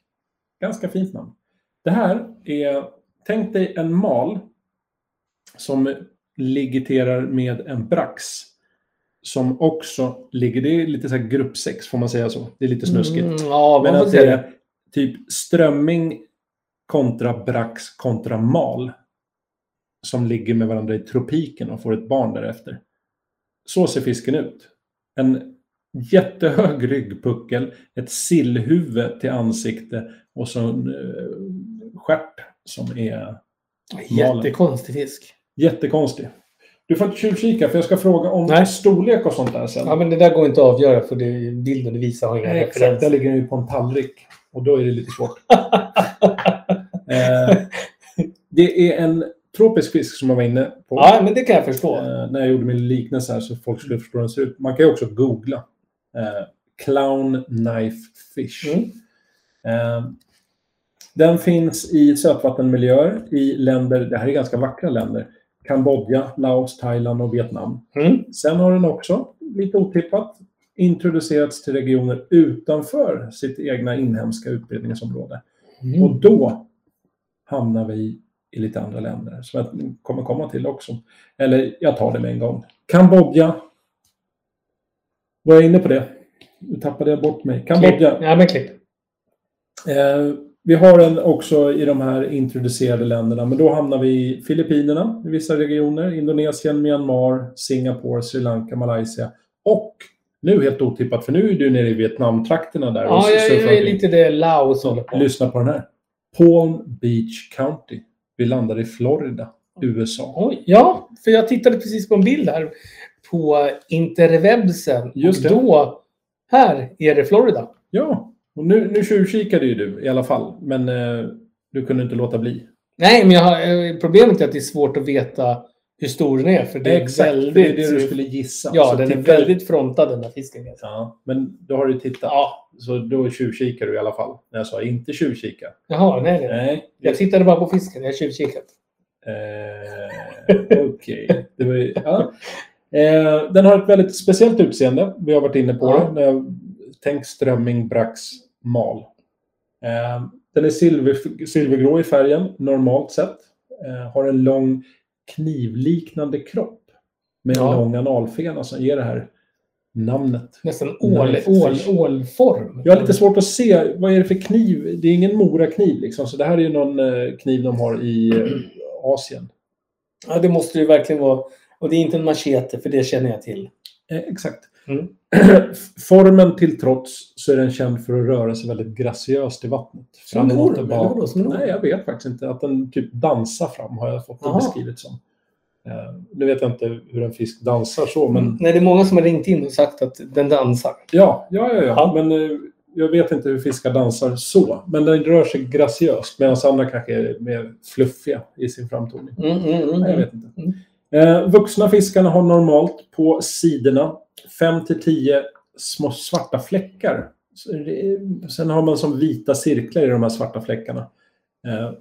S3: Ganska fint namn. Det här är, tänk dig en mal som ligiterar med en brax. Som också ligger, det är lite så här gruppsex får man säga så. Det är lite snuskigt.
S2: Mm, ja,
S3: Men
S2: man får
S3: att
S2: säga
S3: det
S2: det.
S3: är typ strömming kontra brax kontra mal. Som ligger med varandra i tropiken och får ett barn därefter. Så ser fisken ut. En jättehög ryggpuckel, ett sillhuvud till ansikte och så en eh, stjärt som är malen.
S2: Jättekonstig fisk.
S3: jättekonstig. Du får inte tjuvkika för jag ska fråga om
S2: Nej.
S3: storlek och sånt där sen.
S2: Ja, men det där går inte att avgöra för det, bilden du visar har inga
S3: Nej, exakt. Där
S2: referenser.
S3: ligger den ju på en tallrik. Och då är det lite svårt. eh, det är en tropisk fisk som jag var inne på.
S2: Ja, men det kan jag förstå.
S3: Eh, när jag gjorde min liknelse här så folk skulle förstå hur den ser ut. Man kan ju också googla. Eh, clown knife fish.
S2: Mm.
S3: Eh, den finns i sötvattenmiljöer i länder, det här är ganska vackra länder, Kambodja, Laos, Thailand och Vietnam.
S2: Mm.
S3: Sen har den också, lite otippat, introducerats till regioner utanför sitt egna inhemska utbildningsområde.
S2: Mm.
S3: Och då hamnar vi i lite andra länder som jag kommer komma till också. Eller jag tar det med en gång. Kambodja. Var jag inne på det? Nu tappade jag bort mig. Kambodja.
S2: Klipp. Ja, men klipp.
S3: Eh, vi har en också i de här introducerade länderna, men då hamnar vi i Filippinerna i vissa regioner, Indonesien, Myanmar, Singapore, Sri Lanka, Malaysia och nu helt otippat, för nu är du nere i Vietnamtrakterna där.
S2: Ja, jag,
S3: surfar
S2: jag är
S3: omkring.
S2: lite det Laos håller på.
S3: Lyssna på den här. Palm Beach County. Vi landar i Florida, USA.
S2: Oj, ja, för jag tittade precis på en bild här på interwebsen.
S3: Just det.
S2: Och då, här är det Florida.
S3: Ja, och nu, nu tjuvkikade ju du i alla fall, men eh, du kunde inte låta bli.
S2: Nej, men jag har, eh, problemet är att det är svårt att veta hur stor den är. För det är
S3: Exakt, för
S2: väldigt...
S3: det är det du skulle gissa.
S2: Ja,
S3: Så
S2: den är
S3: titta-
S2: väldigt frontad den där fisken.
S3: Ja, men då har du tittat. Så då tjuvkikar du i alla fall. När jag sa inte tjuvkika.
S2: Jaha, nej, nej.
S3: Nej. det-
S2: Jag tittade bara på fisken. Jag har tjuvkikat.
S3: Eh, Okej. Det var ju- ja. eh, den har ett väldigt speciellt utseende. Vi har varit inne på
S2: Ja.
S3: det. När jag- Tänk strömming, brax, mal. Eh, den är silver, silvergrå i färgen, normalt sett. Eh, har en lång knivliknande kropp med en
S2: Ja.
S3: lång analfena som ger det här namnet.
S2: Nästan ål,
S3: Nice
S2: ål,
S3: fish.
S2: ålform.
S3: Jag har lite svårt att se, vad är det för kniv? Det är ingen Morakniv liksom, så det här är ju någon eh, kniv de har i eh, Asien.
S2: Ja, det måste ju verkligen vara. Och det är inte en machete, för det känner jag till.
S3: Eh, exakt.
S2: Mm.
S3: Formen till trots så är den känd för att röra sig väldigt graciöst i vattnet.
S2: Som en
S3: Framåt och
S2: orm,
S3: bak.
S2: eller vadå? Som en orm?
S3: Nej, jag vet faktiskt inte. Att den typ dansar fram har jag fått det
S2: Aha.
S3: beskrivet som. Eh, nu vet jag inte hur en fisk dansar så, men
S2: Nej, det är många som har ringt in och sagt att den dansar.
S3: Ja, ja, ja, ja.
S2: Ja.
S3: men eh, jag vet inte hur fiskar dansar så. Men den rör sig graciöst medan andra kanske är mer fluffiga i sin framtoning.
S2: Mm, mm, mm.
S3: Nej, jag vet inte.
S2: Mm.
S3: Eh, vuxna fiskarna har normalt på sidorna 5-10 små svarta fläckar. Så det är- Sen har man som vita cirklar i de här svarta fläckarna. Eh,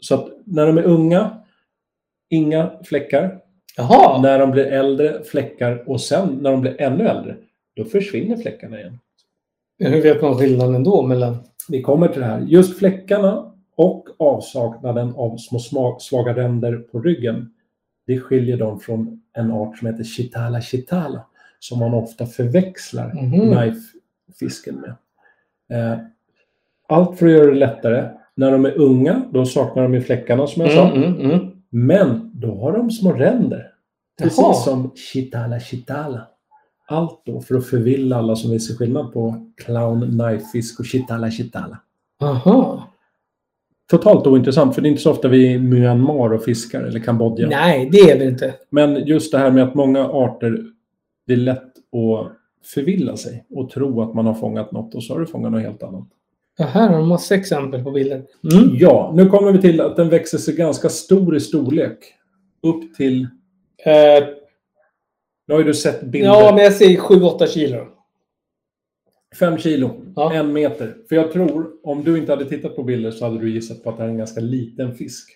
S3: så att när de är unga, inga fläckar.
S2: Jaha!
S3: När de blir äldre, fläckar. Och sen när de blir ännu äldre, då försvinner fläckarna igen.
S2: Hur vet man skillnaden då mellan...
S3: Vi kommer till det här. Just fläckarna och avsaknaden av små sma- svaga ränder på ryggen, det skiljer dem från en art som heter Chitala chitala, som man ofta förväxlar
S2: Mhm.
S3: knifefisken med. Eh, allt för att göra det lättare. När de är unga, då saknar de ju fläckarna som jag sa.
S2: Mm, mm, mm.
S3: Men då har de små ränder. Precis
S2: Jaha.
S3: som Chitala Chitala. Allt då för att förvilla alla som vill se skillnad på clown, knifefisk och Chitala Chitala.
S2: Aha.
S3: Totalt ointressant, för det är inte så ofta vi är i Myanmar och fiskar, eller Kambodja.
S2: Nej, det är det inte.
S3: Men just det här med att många arter, det är lätt att förvilla sig och tro att man har fångat något och så har du fångat något helt annat.
S2: Ja, här har de massa exempel på bilder.
S3: Ja, nu kommer vi till att den växer sig ganska stor i storlek. Upp till...
S2: Eh,
S3: Nu har ju du sett bilder.
S2: ja, men jag säger 7-8 kilo.
S3: Fem kilo,
S2: Ja.
S3: en meter. För jag tror, om du inte hade tittat på bilder så hade du gissat på att det här är en ganska liten fisk.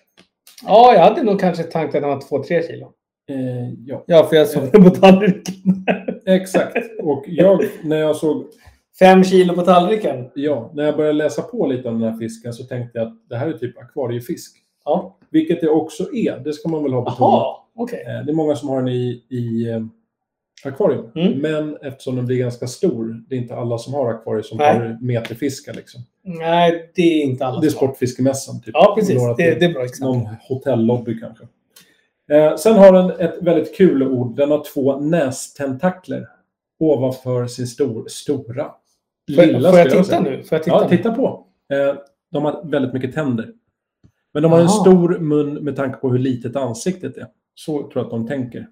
S2: Ja, jag hade nog kanske tanken att han var 2-3 kilo.
S3: Eh, ja,
S2: Ja, för jag såg den på tallriken.
S3: exakt. Och jag, när jag såg,
S2: 5 kilo på tallriken.
S3: ja, när jag började läsa på lite om den här fisken så tänkte jag att det här är typ akvariefisk.
S2: Ja.
S3: Vilket det också är, det ska man väl ha betonat.
S2: Jaha, okej.
S3: Eh, det är många som har den i, i eh, akvarium.
S2: Mm.
S3: Men eftersom den blir ganska stor, det är inte alla som har akvarium som
S2: Nej.
S3: har meterfiskar. Liksom.
S2: Nej, det är inte alla
S3: Det är
S2: som har.
S3: Sportfiskemässan. Typ.
S2: Ja, precis.
S3: Några
S2: Det,
S3: till.
S2: det är bra exempel.
S3: Någon hotellobby kanske. Eh, sen har den ett väldigt kul ord. Den har två nästentakler ovanför sin stor, stora.
S2: Får,
S3: lilla,
S2: får jag
S3: skulle
S2: titta
S3: säga.
S2: nu? Får jag titta
S3: Ja,
S2: nu?
S3: titta på. Eh, de har väldigt mycket tänder. Men de har en
S2: Jaha.
S3: stor mun med tanke på hur litet ansiktet är. Så tror jag att de tänker.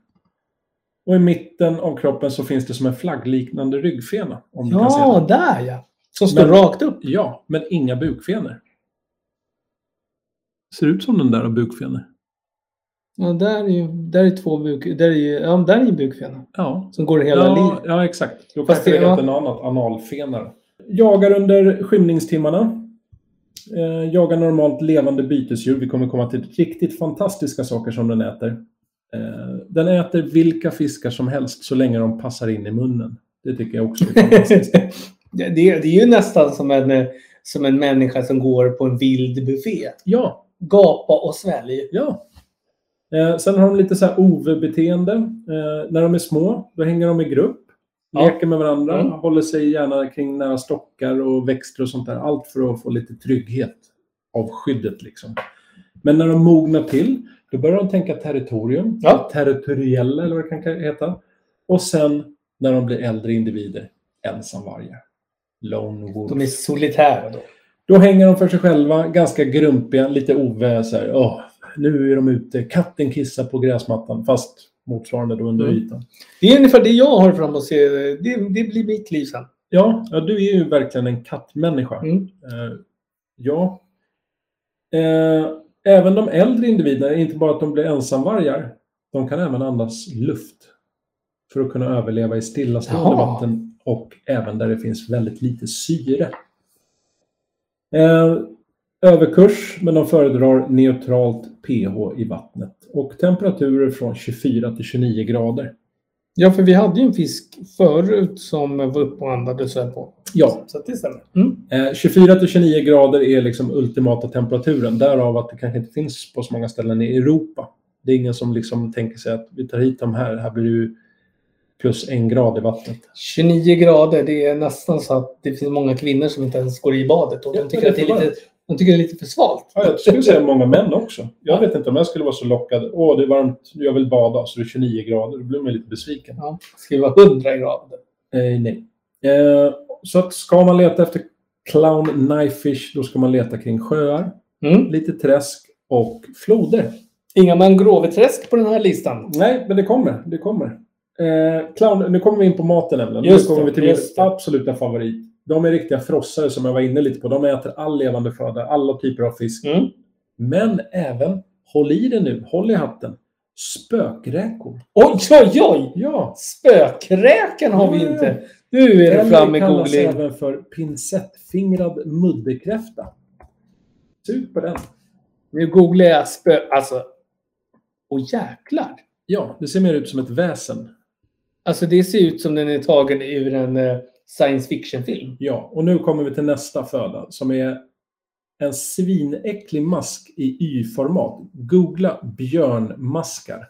S3: Och i mitten av kroppen så finns det som en flaggliknande ryggfena. Om du kan se
S2: Ja,
S3: den.
S2: där ja. Som står
S3: Men-
S2: rakt upp.
S3: ja, men inga bukfenor. Ser ut som den där av bukfenor.
S2: Ja, där är ju där är två buk... Där är ju, ja, där är ju bukfena.
S3: Ja,
S2: Som går hela
S3: ja,
S2: livet.
S3: Ja, exakt. Då
S2: Fast
S3: kanske det
S2: det-
S3: heter något annat. Analfenare. Jagar under skymningstimmarna. Eh, jagar normalt levande bytesdjur. Vi kommer komma till riktigt fantastiska saker som den äter. Eh, den äter vilka fiskar som helst så länge de passar in i munnen. Det tycker jag också är fantastiskt.
S2: det, det är ju nästan som en, eh, som en människa som går på en vild buffé.
S3: ja,
S2: Gapa och svälj.
S3: Ja. Eh, sen har de lite så här OV-beteende. Eh, när de är små, då hänger de i grupp.
S2: Ja.
S3: Leker med varandra,
S2: Mm.
S3: håller sig gärna kring nära stockar och växter och sånt där. Allt för att få lite trygghet av skyddet liksom. Men när de mognar till, då börjar de tänka territorium.
S2: Ja.
S3: Territoriella eller vad det kan heta. Och sen när de blir äldre individer, ensamvargar. Lone wolf.
S2: De är solitära då.
S3: Då hänger de för sig själva, ganska grumpiga, lite oväser. Åh, nu är de ute, katten kissar på gräsmattan, fast motsvarande då under
S2: Mm.
S3: ytan.
S2: Det är ungefär det jag har fram att se. Det, det blir mitt liv sen.
S3: Ja, ja, du är ju verkligen en kattmänniska.
S2: Mm.
S3: Eh, ja. Eh, även de äldre individerna, inte bara att de blir ensamvargar, de kan även andas luft för att kunna överleva i stillastående
S2: Jaha.
S3: vatten och även där det finns väldigt lite syre. Eh, överkurs, men de föredrar neutralt pH i vattnet och temperaturer från 24 till 29 grader.
S2: Ja, för vi hade ju en fisk förut som var uppe och andades så här på.
S3: Ja,
S2: Så att det stämmer. Mm.
S3: Eh, 24 till 29 grader är liksom ultimata temperaturen. Därav att det kanske inte finns på så många ställen i Europa. Det är ingen som liksom tänker sig att vi tar hit de här. Här blir det ju plus en grad i vattnet.
S2: 29 grader, det är nästan så att det finns många kvinnor som inte ens går i badet. Och de,
S3: Jag
S2: tycker att det är lite, de tycker det är lite för svalt.
S3: Ja, jag skulle säga många män också. Jag vet inte om jag skulle vara så lockad. Åh, det är varmt. Jag vill bada. Så det är 29 grader. Då blir man lite besviken.
S2: Ja, skriva 100 grader.
S3: Eh, nej. Eh, så att ska man leta efter clown knifefish, då ska man leta kring sjöar,
S2: Mm.
S3: lite träsk och floder.
S2: Inga mangroveträsk på den här listan.
S3: Nej, men det kommer. Det kommer. Eh, clown, nu kommer vi in på maten nämligen.
S2: Just
S3: nu kommer
S2: det,
S3: vi till min
S2: just det.
S3: absoluta favorit. De är riktiga frossare som jag var inne lite på. De äter all levande föda, alla typer av fisk.
S2: Mm.
S3: Men även, håll i det nu, håll i hatten, spökräkor.
S2: Oj, oj, oj!
S3: Ja.
S2: Spökräkan har vi inte. Nu är det
S3: Mm. Den
S2: fram med
S3: kallas
S2: googling.
S3: även för pincettfingrad mudderkräfta. Sug på den.
S2: Nu googlar jag spö... Alltså... Åh jäklar!
S3: Ja, det ser mer ut som ett väsen.
S2: Alltså det ser ut som den är tagen ur en eh, science fiction-film.
S3: Ja, och nu kommer vi till nästa föda som är en svinäcklig mask i Y-format. Googla björnmaskar.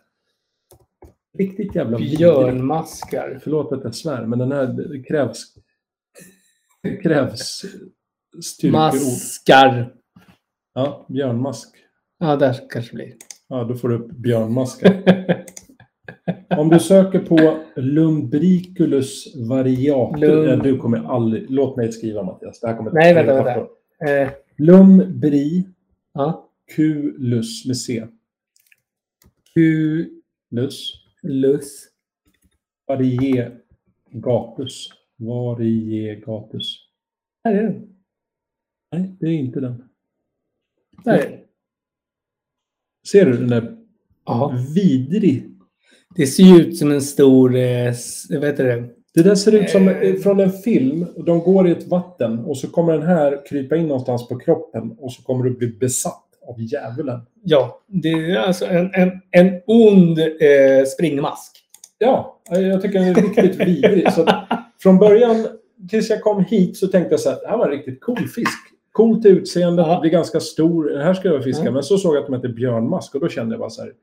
S3: Riktigt jävla vidrigt.
S2: Björnmaskar.
S3: Förlåt att jag svär, men den här det krävs, det krävs styrkeord.
S2: Maskar.
S3: Ja, björnmask.
S2: Ja, där kanske det blir.
S3: Ja, då får du upp björnmaskar. Om du söker på lumbriculus variatus.
S2: Lum-
S3: Nej, Du kommer aldrig... Låt mig skriva, Mattias. Det här kommer
S2: Nej, vänta, vänta. Eh,
S3: Lumbri
S2: ja.
S3: Kulus med C. Kulus.
S2: Lus.
S3: Variegatus. Variegatus.
S2: Där är den.
S3: Nej, det är inte den.
S2: Där är den.
S3: Ser du den där
S2: Ja.
S3: vidrig?
S2: Det ser ju ut som en stor... Eh, s- vad heter det?
S3: Det där ser ut som
S2: Eh.
S3: från en film. De går i ett vatten och så kommer den här krypa in någonstans på kroppen och så kommer du bli besatt av djävulen.
S2: Ja, det är alltså en, en, en ond eh, springmask.
S3: Ja, jag tycker den är riktigt vidrig. Så att från början, tills jag kom hit, så tänkte jag så här, det här var en riktigt cool fisk. Coolt i utseendet,
S2: Ja.
S3: blir ganska stor. Den här ska jag fiska.
S2: Ja.
S3: Men så såg jag att de hette björnmask och då kände jag bara så här,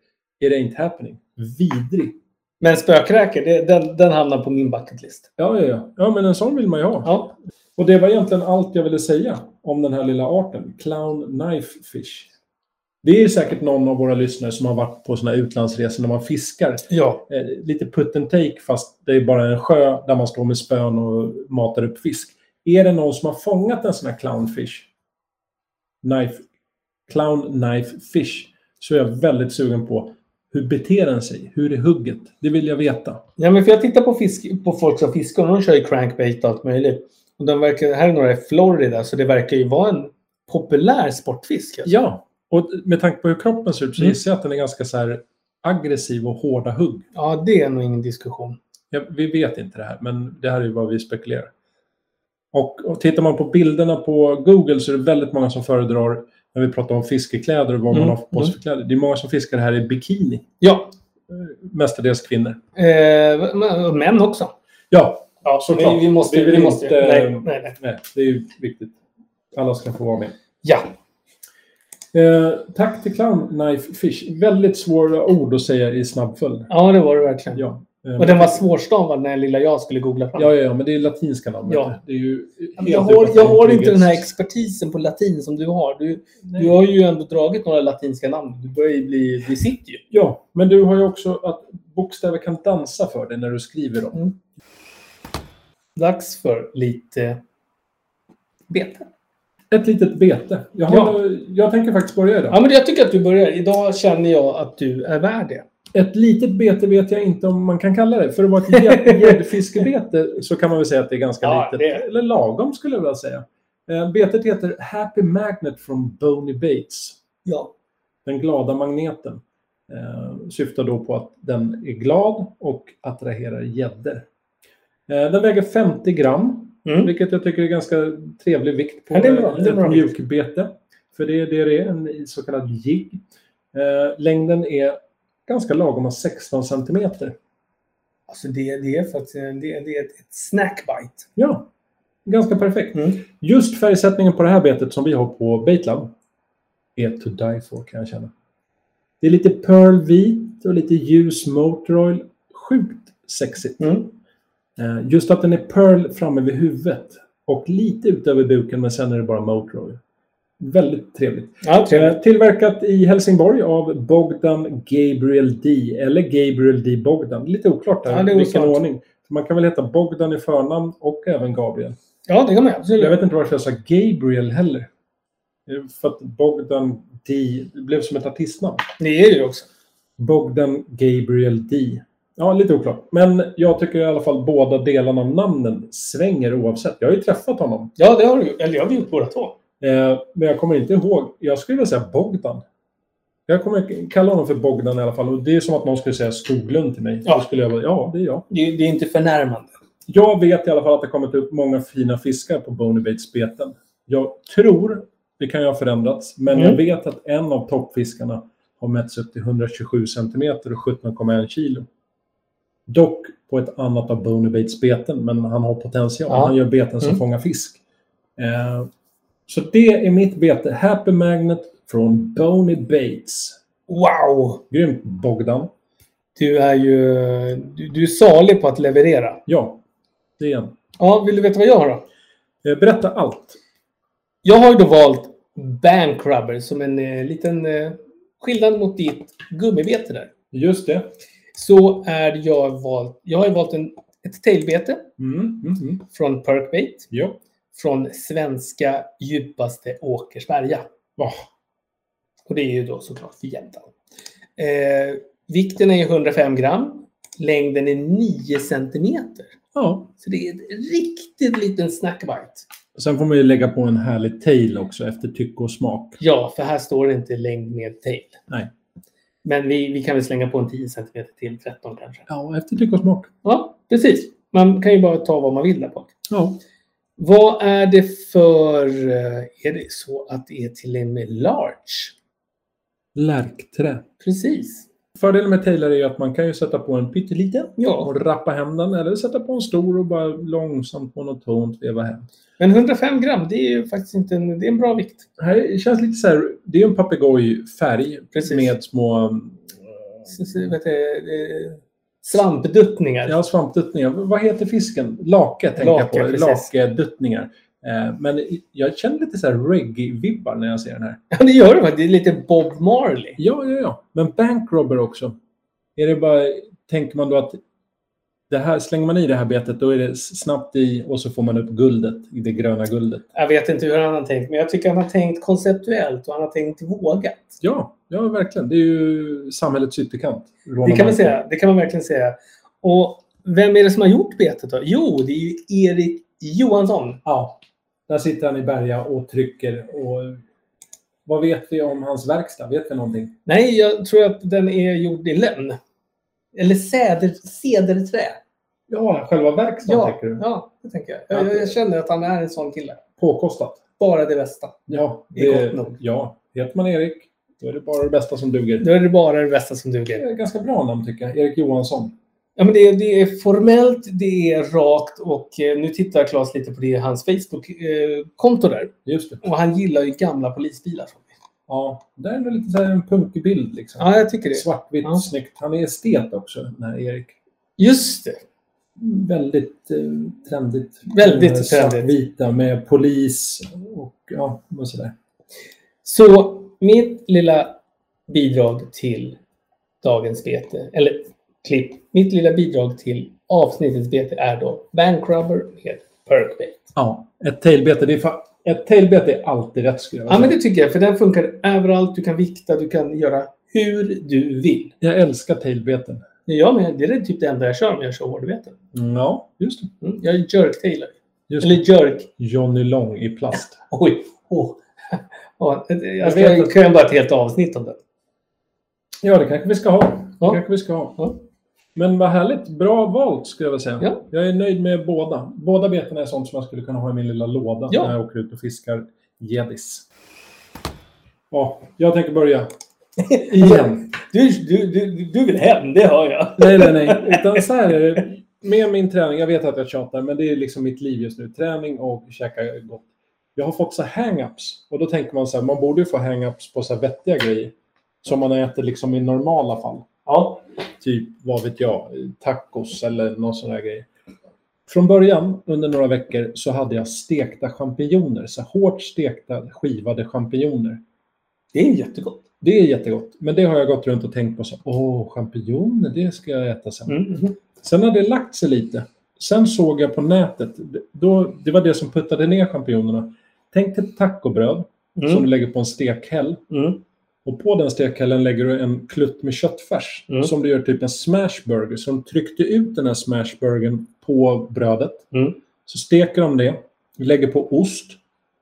S3: it ain't happening. Vidrig.
S2: Men spökräkor, det, den, den hamnar på min bucketlist.
S3: Ja, ja, ja. Ja, men en sån vill man ju ha.
S2: Ja.
S3: Och det var egentligen allt jag ville säga om den här lilla arten, clown knife fish. Det är säkert någon av våra lyssnare som har varit på sina utlandsresor när man fiskar.
S2: ja.
S3: eh, lite put and take fast det är bara en sjö där man står med spön och matar upp fisk. Är det någon som har fångat en sån här clownfish, knife, clown knife fish, så är jag väldigt sugen på hur beter den sig? Hur är hugget? Det vill jag veta.
S2: Ja, men för jag tittar på, fisk, på folk som fiskar och de kör ju crankbait och allt möjligt. Och de verkar, här är några i Florida, så det verkar ju vara en populär sportfisk. alltså.
S3: Ja, och med tanke på hur kroppen ser ut så
S2: Mm.
S3: gissar jag att den är ganska så här aggressiv och hårda hugg.
S2: ja, det är nog ingen diskussion.
S3: Ja, vi vet inte det här, men det här är ju vad vi spekulerar. Och, och tittar man på bilderna på Google så är det väldigt många som föredrar, när vi pratar om fiskekläder och vad
S2: Mm,
S3: man har på sig för kläder, det är många som fiskar här i bikini.
S2: Ja,
S3: eh, Mestadels kvinnor.
S2: eh, men- män också.
S3: Ja,
S2: Ja,
S3: såklart.
S2: Vi, vi måste...
S3: Vi
S2: Vi,
S3: vill
S2: måste
S3: inte-
S2: nej, nej, nej.
S3: nej, det är ju viktigt. Alla ska få vara med.
S2: Ja.
S3: Eh, tack till Clown Knife Fish. Väldigt svåra ord att säga i snabbföljd.
S2: Ja, det var det verkligen.
S3: Ja. Eh,
S2: Och den var svårstavad när lilla jag skulle googla fram.
S3: Ja, ja, ja, men det är latinska namn.
S2: Ja.
S3: Det är ju helt
S2: jag, har,
S3: utan
S2: jag har inte
S3: intelligens.
S2: den här expertisen på latin som du har. Du, du har ju ändå dragit några latinska namn. Du börjar ju bli... Vi sitter ju.
S3: Ja, men du har ju också att bokstäver kan dansa för dig när du skriver dem.
S2: Dags för lite bete.
S3: Ett litet bete. Jag, har, jag tänker faktiskt börja idag.
S2: Ja, men jag tycker att du börjar. Idag känner jag att du är värd det.
S3: Ett litet bete vet jag inte om man kan kalla det. För att vara ett gädd- gäddfiskebete så kan man väl säga att det är ganska
S2: Ja,
S3: litet.
S2: det-
S3: Eller lagom skulle jag vilja säga. Eh, Betet heter Happy Magnet från Boney Bates.
S2: Ja.
S3: Den glada magneten. Eh, syftar då på att den är glad och attraherar gäddor. Eh, den väger 50 gram.
S2: Mm.
S3: Vilket jag tycker är ganska trevlig vikt på
S2: Ja, det är bra. Det är
S3: ett
S2: bra vikt.
S3: mjukbete. För det är det det är, en så kallad jigg. Eh, längden är ganska lagom, 16 centimeter.
S2: Alltså det, det är faktiskt det, det är ett ett snackbite.
S3: Ja, ganska perfekt.
S2: Mm.
S3: Just färgsättningen på det här betet som vi har på Baitlab är to die for kan jag känna. Det är lite pearlvit och lite ljus motor oil. Sjukt sexigt.
S2: Mm.
S3: Eh, Just att den är pearl framme vid huvudet och lite ut över buken men sen är det bara motor oil. Väldigt trevligt.
S2: Ja,
S3: Eh, Tillverkat i Helsingborg av Bogdan Gabriel D. Eller Gabriel D. Bogdan. Lite oklart
S2: Ja,
S3: där
S2: det är
S3: i vilken
S2: oklart.
S3: ordning. Man kan väl heta Bogdan i förnamn och även Gabriel.
S2: ja det kan man
S3: Jag
S2: absolut.
S3: vet inte varför jag sa Gabriel heller. Det är För att Bogdan D. Det blev som ett artistnamn.
S2: Det är det ju också.
S3: Bogdan Gabriel D. Ja, lite oklart. Men jag tycker i alla fall båda delarna av namnen svänger oavsett. Jag har ju träffat honom.
S2: Ja, det har du Eller jag har vi gjort båda två.
S3: Eh, men jag kommer inte ihåg. Jag skulle vilja säga Bogdan. Jag kommer kalla honom för Bogdan i alla fall. Och det är som att någon skulle säga Skoglund till mig.
S2: Ja.
S3: Då skulle jag bara, ja, det är jag.
S2: Det, det är inte förnärmande.
S3: Jag vet i alla fall att det har kommit upp många fina fiskar på Bonibates beten. Jag tror, det kan ju ha förändrats, men
S2: Mm.
S3: jag vet att en av toppfiskarna har mätts upp till 127 centimeter och 17,1 kilo. Dock på ett annat av Bonibates beten, men han har potential.
S2: Ja.
S3: Han gör beten som
S2: Mm.
S3: fångar fisk. Eh, så det är mitt bete. Happy Magnet från Boney Bates.
S2: Wow!
S3: Grymt Bogdan.
S2: Du är ju... Du, du är salig på att leverera.
S3: Ja, det är han.
S2: Ja, vill du veta vad jag har då?
S3: Eh, berätta allt.
S2: Jag har ju då valt Bankrubber som en eh, liten eh, skillnad mot ditt gummibete där.
S3: Just det.
S2: Så är jag valt... Jag har ju valt en, ett tailbete
S3: Mm, mm, mm.
S2: från Perkbait.
S3: Ja.
S2: Från svenska djupaste Åkersberga.
S3: Ja.
S2: Och det är ju då såklart för Jämtland. Eh, vikten är 105 gram. Längden är 9 centimeter.
S3: ja.
S2: Så det är en riktigt liten snackbite.
S3: Sen får man ju lägga på en härlig tail också efter tycke och smak.
S2: Ja, för här står det inte längd med tail.
S3: Nej.
S2: Men vi, vi kan väl slänga på en 10 centimeter till, 13 kanske.
S3: Ja, efter tycke och smak.
S2: Ja, precis. Man kan ju bara ta vad man vill där bak.
S3: Ja.
S2: Vad är det för... eh, Är det så att det är till en large?
S3: Lärkträ.
S2: Precis.
S3: Fördelen med tailar är ju att man kan ju sätta på en pytteliten
S2: Ja.
S3: och rappa hem den eller sätta på en stor och bara långsamt monotont veva hem.
S2: Men 105 gram, det är ju faktiskt inte en, det är en bra vikt.
S3: Det här känns lite så här, det är ju en papegojfärg
S2: Precis.
S3: med små um,
S2: S- s- Vet du, eh, svampduttningar.
S3: ja, svampduttningar. Vad heter fisken? Lake tänker jag
S2: Lake,
S3: på.
S2: precis.
S3: Lakeduttningar. Eh, Men jag känner lite så här reggae-vibbar när jag ser den här.
S2: Ja, det gör det faktiskt. Det är lite Bob Marley.
S3: Ja, ja, ja. Men bankrobber också. Är det bara, tänker man då att det här, slänger man i det här betet, då är det s- snabbt i och så får man upp guldet, det gröna guldet.
S2: Jag vet inte hur han har tänkt, men jag tycker han har tänkt konceptuellt och han har tänkt vågat.
S3: Ja, ja verkligen. Det är ju samhällets ytterkant. Råna
S2: Det kan, man
S3: banker.
S2: säga, det kan man verkligen säga. Och vem är det som har gjort betet då? Jo, det är ju Erik Johansson.
S3: Ja. Där sitter han i Berga och trycker. Och vad vet vi om hans verkstad? Vet vi någonting?
S2: Nej, jag tror att den är gjord i lönn. Eller säder, säderträ.
S3: Ja, själva verkstaden
S2: Ja,
S3: tänker du.
S2: ja, det tänker jag. Jag, jag. jag känner att han är en sån kille.
S3: Påkostat.
S2: Bara det bästa.
S3: Ja,
S2: Det är gott nog.
S3: Ja, heter man Erik, då är det bara det bästa som duger.
S2: Då är det bara det bästa som
S3: Det
S2: duger.
S3: är ett ganska bra namn tycker jag. Erik Johansson.
S2: Ja, men det, är, det är formellt, det är rakt och eh, nu tittar Claes lite på det, hans Facebook-konto eh, där.
S3: Just det.
S2: Och han gillar ju gamla polisbilar.
S3: Ja, det är nog lite så här en punkig bild. Liksom.
S2: Ja, jag tycker det.
S3: Svartvitt,
S2: Ja.
S3: snyggt. Han är estet också, den här Erik.
S2: Just det.
S3: Väldigt eh, trendigt.
S2: Väldigt
S3: Eh,
S2: trendigt.
S3: Svartvita med polis och, ja, och sådär.
S2: Så mitt lilla bidrag till dagens bete, eller klipp, mitt lilla bidrag till avsnittets bete är då Bankrubber med Perkbait.
S3: Ja, ett tailbete. Det är fa- ett tailbete är alltid rätt skulle jag
S2: Ja,
S3: säga.
S2: men det tycker jag, för den funkar överallt. Du kan vikta, du kan göra hur du vill.
S3: Jag älskar tailbeten.
S2: Jag med, det är typ det enda jag kör om jag kör hårdveten.
S3: Ja, just det.
S2: Mm, jag är jerktailer.
S3: Just
S2: Eller
S3: det.
S2: jerk...
S3: Johnny Long i plast.
S2: Oj! Oh. Ja, jag ska,
S3: vet att-
S2: kan jag bara ett helt avsnitt om det.
S3: Ja, det kanske vi ska ha.
S2: Ja.
S3: Det kanske vi ska ha.
S2: Ja.
S3: Men vad härligt. Bra valt skulle jag vilja säga.
S2: Ja.
S3: Jag är nöjd med båda. Båda betena är sånt som jag skulle kunna ha i min lilla låda
S2: Ja.
S3: när jag åker ut och fiskar gäddis. Ja, jag tänker börja. Igen.
S2: Du, du, du, du vill hem, det hör jag.
S3: nej, nej, nej. Utan så här är det. Med min träning, jag vet att jag tjatar, men det är liksom mitt liv just nu. Träning och käka gott. Jag har fått så här hang-ups. Och då tänker man så här, man borde ju få hang-ups på så här vettiga grejer. Som man äter liksom i normala fall.
S2: Ja.
S3: typ, vad vet jag, tacos eller någon sån där grej. Från början, under några veckor, så hade jag stekta champinjoner. Så hårt stekta, skivade champinjoner.
S2: Det är jättegott.
S3: Det är jättegott. Men det har jag gått runt och tänkt på. så Åh, champinjoner, det ska jag äta sen.
S2: Mm.
S3: Sen hade det lagt sig lite. Sen såg jag på nätet, då, det var det som puttade ner champinjonerna. Tänk dig ett tacobröd som du lägger på en stekhäll.
S2: Mm.
S3: Och på den stekhällen lägger du en klutt med köttfärs
S2: Mm.
S3: som du gör typ en smashburger. Så de tryckte ut den här smashburgern på brödet.
S2: Mm.
S3: Så steker de det, lägger på ost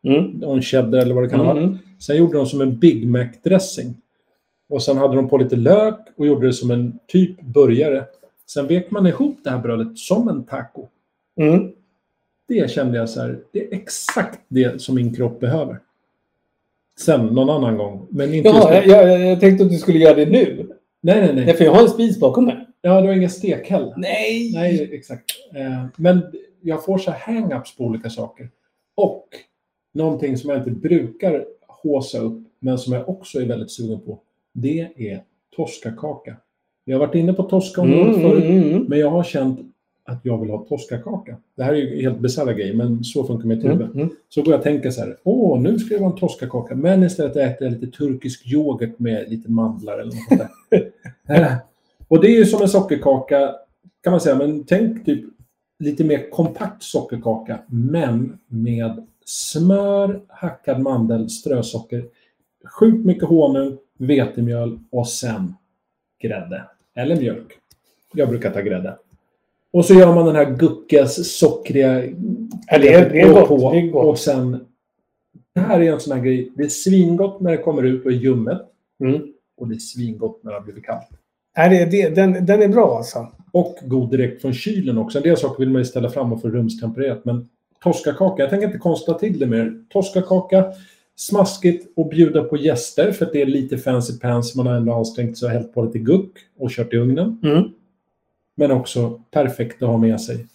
S2: Mm.
S3: och en cheddar eller vad det kan vara.
S2: Mm.
S3: Sen gjorde de som en Big Mac-dressing. Och sen hade de på lite lök och gjorde det som en typ burgare. Sen vek man ihop det här brödet som en taco.
S2: Mm.
S3: Det kände jag så här, det är exakt det som min kropp behöver. Sen någon annan gång. Men inte just
S2: Jaha,
S3: nu.
S2: jag, jag, jag tänkte att du skulle göra det nu.
S3: Nej, nej, nej.
S2: Nej, för jag har en spis bakom mig.
S3: Ja, det var ingen stekhäll.
S2: Nej!
S3: Nej, exakt. Eh, Men jag får så här hang-ups på olika saker. Och någonting som jag inte brukar håsa upp, men som jag också är väldigt sugen på, det är toskakaka. Jag har varit inne på toskaområdet
S2: Mm,
S3: förut,
S2: mm, mm.
S3: men jag har känt att jag vill ha toskakaka. Det här är ju helt bisarra grejer, men så funkar mitt huvud.
S2: Mm, mm.
S3: Så går jag och tänker så här, åh, nu ska det vara en toskakaka, men istället äter jag lite turkisk yoghurt med lite mandlar eller något sånt där. Eh, och det är ju som en sockerkaka, kan man säga, men tänk typ lite mer kompakt sockerkaka, men med smör, hackad mandel, strösocker, sjukt mycket honung, vetemjöl och sen grädde. Eller mjölk. Jag brukar ta grädde. Och så gör man den här guckas sockriga
S2: Ja, det är- det är
S3: och
S2: gott,
S3: på,
S2: det är gott.
S3: Och sen... Det här är en sån här grej. Det är svingott när det kommer ut och är ljummet.
S2: Mm.
S3: Och det är svingott när det har blivit kallt.
S2: Nej, det, det, den, den är bra alltså.
S3: Och god direkt från kylen också. En del saker vill man ju ställa fram och få rumstempererat. Men toskakaka, jag tänker inte konsta till det mer. Toskakaka, smaskigt och bjuda på gäster för att det är lite fancy pants. Man har ändå ansträngt sig och hällt på lite guck och kört i ugnen.
S2: Mm.
S3: Men också perfekt att ha med sig.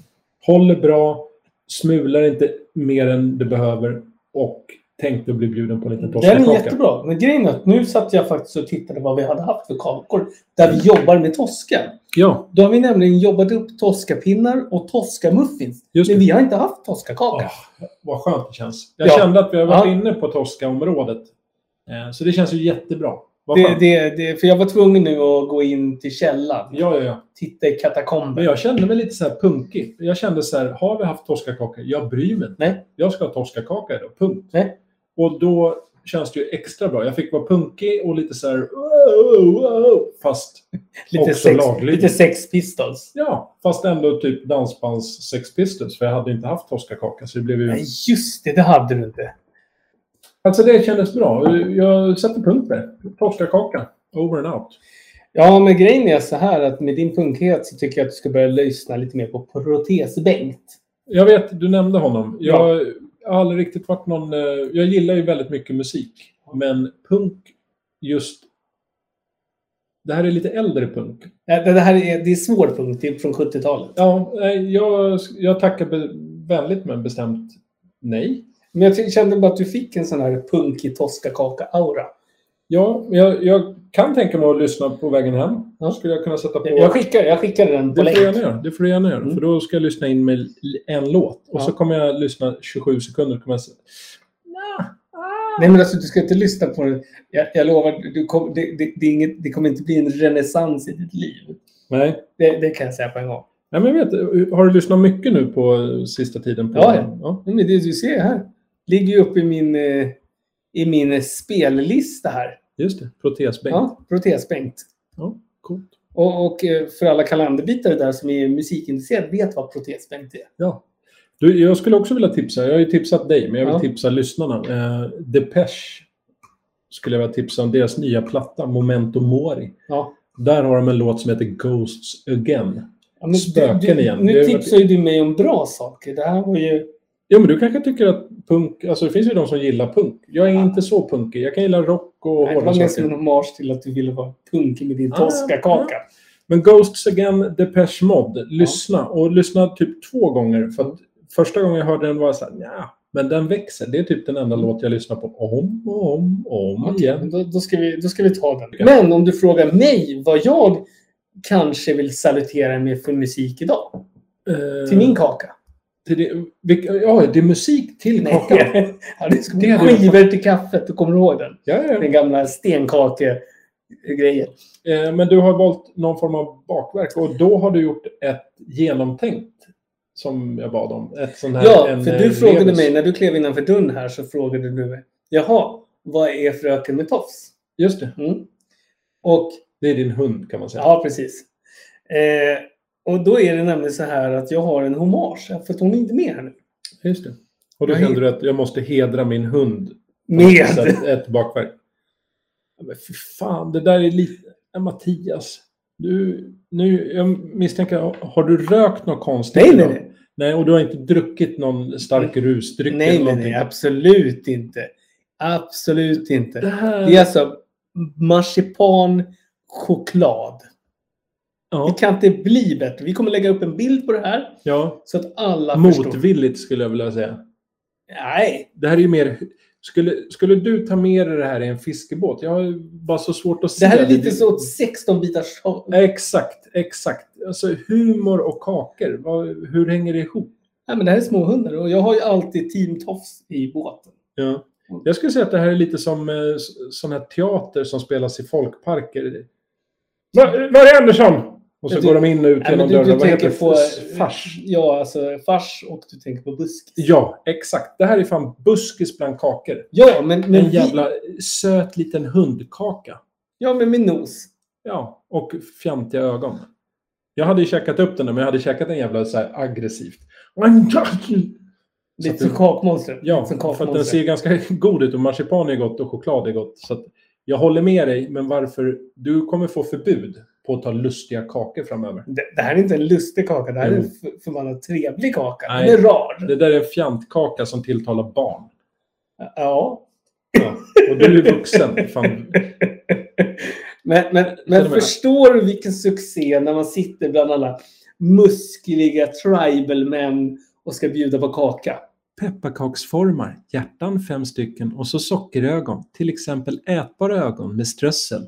S3: Håller bra, smular inte mer än det behöver och tänkte bli bjuden på lite
S2: Den är
S3: toskakaka.
S2: jättebra. Men grejen är att nu satt jag faktiskt och tittade vad vi hade haft för kakor där vi jobbar med toska.
S3: Ja,
S2: Då har vi nämligen jobbat upp toskapinnar och toskamuffins.
S3: just
S2: Men
S3: det.
S2: vi har inte haft toskakaka.
S3: Ja, vad skönt det känns. Jag
S2: Ja.
S3: kände att vi har varit
S2: Ja.
S3: inne på Tosca-området. Eh, Så det känns ju jättebra. Vad
S2: Det,
S3: skönt.
S2: det, det, för jag var tvungen nu att gå in till källan.
S3: Ja, ja, ja.
S2: Titta i
S3: Men
S2: katakomber.
S3: jag kände mig lite så här punkig. Jag kände så här, har vi haft Tosca-kaka? Jag bryr mig inte.
S2: Nej.
S3: Jag ska ha Tosca-kaka idag, punkt.
S2: Nej.
S3: Och då känns det ju extra bra. Jag fick vara punkig och lite så här, wow, wow, fast
S2: Lite
S3: också
S2: sex,
S3: laglig.
S2: lite sex pistols.
S3: Ja, fast ändå typ dansbands Sex Pistols, för jag hade inte haft Tosca-kaka. Så det blev ju...
S2: Nej, just det. Det hade du inte.
S3: Alltså det kändes bra. Jag sätter punkt där. Tosca-kaka. Over and out.
S2: Ja, men grejen är så här att med din punkighet så tycker jag att du ska börja lyssna lite mer på Protes-Bengt.
S3: Jag vet, du nämnde honom. Jag har aldrig riktigt varit någon... eh, Jag gillar ju väldigt mycket musik. Men punk, just... Det här är lite äldre punk.
S2: Nej, Det det här är, det är svår punkt. Det är från 70-talet.
S3: Ja, nej, jag, jag tackar be, vänligt men bestämt nej.
S2: Men jag ty- kände bara att du fick en sån här punkig Tosca-kaka-aura.
S3: Ja, men jag, jag kan tänka mig att lyssna på vägen hem.
S2: Ja.
S3: Skulle jag kunna sätta på...
S2: Jag skickar, jag skickar den
S3: det,
S2: på
S3: får
S2: länk.
S3: du gärna göra. det får du gärna göra.
S2: Mm.
S3: För då ska jag lyssna in med l- en låt. Och
S2: Ja.
S3: så kommer jag lyssna 27 sekunder. Kommer jag... säga,
S2: Nej, men alltså, du ska inte lyssna på det. Jag, jag lovar, du kom, det, det, det, är inget, det kommer inte bli en renässans i ditt liv.
S3: Nej.
S2: Det, det kan jag säga på en gång.
S3: Nej, men jag vet. eh, Har du lyssnat mycket nu på eh, sista tiden? På
S2: Ja, ja. Nej, Men det du ser här ligger ju uppe i min, eh, i min eh, spellista här.
S3: Just det. Protesbänk.
S2: Ja, protesbänkt.
S3: Ja, coolt.
S2: Och, och eh, för alla kalenderbitare där som är musikintresserade vet vad protesbänkt är.
S3: Ja. Du, jag skulle också vilja tipsa. Jag har ju tipsat dig, men jag vill
S2: Ja.
S3: tipsa lyssnarna. Eh, Depeche skulle jag vilja tipsa om. Deras nya platta, Momento Mori.
S2: Ja.
S3: Där har de en låt som heter Ghosts Again.
S2: Ja, men du-
S3: Spöken
S2: du,
S3: igen. Det
S2: Nu
S3: är-
S2: tipsar ju du mig om bra saker. Det här var ju...
S3: Ja, men du kanske tycker att punk... Alltså det finns ju de som gillar punk. Jag är inte så punkig. Jag kan gilla rock och
S2: Nej, Det
S3: hårda
S2: var mer
S3: saker. Ah,
S2: som en hommage till att du ville vara punkig med din
S3: Ja,
S2: Toscakaka.
S3: Men Ghosts Again, Depeche Mod. Lyssna. Och lyssna typ två gånger. För att första gången jag hörde den var jag så här, nja. Men den växer. Det är typ den enda låt jag lyssnar på om och om och om
S2: Okej,
S3: ah. igen.
S2: men då, då, ska vi, då ska vi ta den. Men om du frågar mig vad jag kanske vill salutera med för musik idag.
S3: Eh,
S2: Till min kaka.
S3: till det, vilka, ja, det är musik till
S2: Nej.
S3: kakan. Ja,
S2: Ja, det ska
S3: Det
S2: bli
S3: hade jag
S2: skivor till kaffet. Du kommer ihåg den?
S3: ja.
S2: Den gamla stenkake-grejen.
S3: Eh, men du har valt någon form av bakverk och då har du gjort ett genomtänkt som jag bad om. Ett sån här,
S2: Ja,
S3: en,
S2: för
S3: eh,
S2: du frågade
S3: rebus.
S2: mig när du klev innanför dörren här så frågade du mig. Jaha, vad är fröken med tofs?
S3: Just det.
S2: Mm. Och
S3: Det är din hund kan man säga.
S2: Ja, precis. Eh, och då är det nämligen så här att jag har en hommage, för att hon är inte med här nu.
S3: Just det. Och då
S2: Jag
S3: kände du att jag måste hedra min hund. Så
S2: Med!
S3: att ett bakverk. Ja, Men fy fan, det där är lite... Ja, Mattias. Du, nu, jag misstänker, har du rökt något konstigt?
S2: Nej, nej,
S3: idag?
S2: nej.
S3: Nej, och du har inte druckit någon stark rusdryck?
S2: Nej,
S3: eller
S2: nej,
S3: någonting?
S2: nej, absolut inte. Absolut inte.
S3: Det här...
S2: Det är alltså marsipan, choklad.
S3: ja,
S2: Det kan inte bli bättre. Vi kommer lägga upp en bild på det här
S3: ja.
S2: så att alla förstår.
S3: Motvilligt skulle jag vilja säga.
S2: Nej,
S3: Det här är ju mer... Skulle, skulle du ta med dig det här i en fiskebåt? Jag har ju bara så svårt att se.
S2: det här är lite så åt 16 bitars håll.
S3: Exakt, exakt. Alltså humor och kakor, vad, hur hänger det ihop?
S2: Nej, men det här är småhundar och jag har ju alltid team tofs i båten.
S3: Ja.
S2: Mm.
S3: Jag skulle säga att det här är lite som eh, s- sån här teater som spelas i folkparker. Va- Var är Andersson? Och så
S2: Du-
S3: går de in och ut
S2: Nej,
S3: genom
S2: men du,
S3: dörrarna.
S2: du
S3: Vad heter
S2: tänker
S3: det?
S2: på eh,
S3: F- Fars.
S2: Ja, alltså fars och du tänker på busk.
S3: Ja, exakt. Det här är fan buskis bland kakor.
S2: Ja, men, men,
S3: En
S2: vi-
S3: jävla söt liten hundkaka.
S2: ja, men med nos.
S3: Ja, och fjantiga ögon. Jag hade ju käkat upp den där, men jag hade käkat den jävla så här aggressivt. Så att
S2: Lite som
S3: den-
S2: kakmonstret.
S3: Ja,
S2: Lite som
S3: för att den
S2: kakmonstret.
S3: ser ganska god ut och marsipan är gott och choklad är gott. Så att jag håller med dig, men varför? Du kommer få förbud på att ta lustiga kakor framöver.
S2: Det, det här är inte en lustig kaka. Det här
S3: Jo.
S2: är en f- förbannat trevlig kaka.
S3: Mm. Nej.
S2: Den är rar.
S3: Det där är en fjantkaka som tilltalar barn.
S2: Ja.
S3: Ja. Och du är vuxen. Fan.
S2: Men, men,
S3: Till
S2: men
S3: och med.
S2: förstår du vilken succé när man sitter bland alla muskliga tribalmän och ska bjuda på kaka?
S3: Pepparkaksformar, hjärtan fem stycken och så sockerögon. Till exempel ätbara ögon med strössel.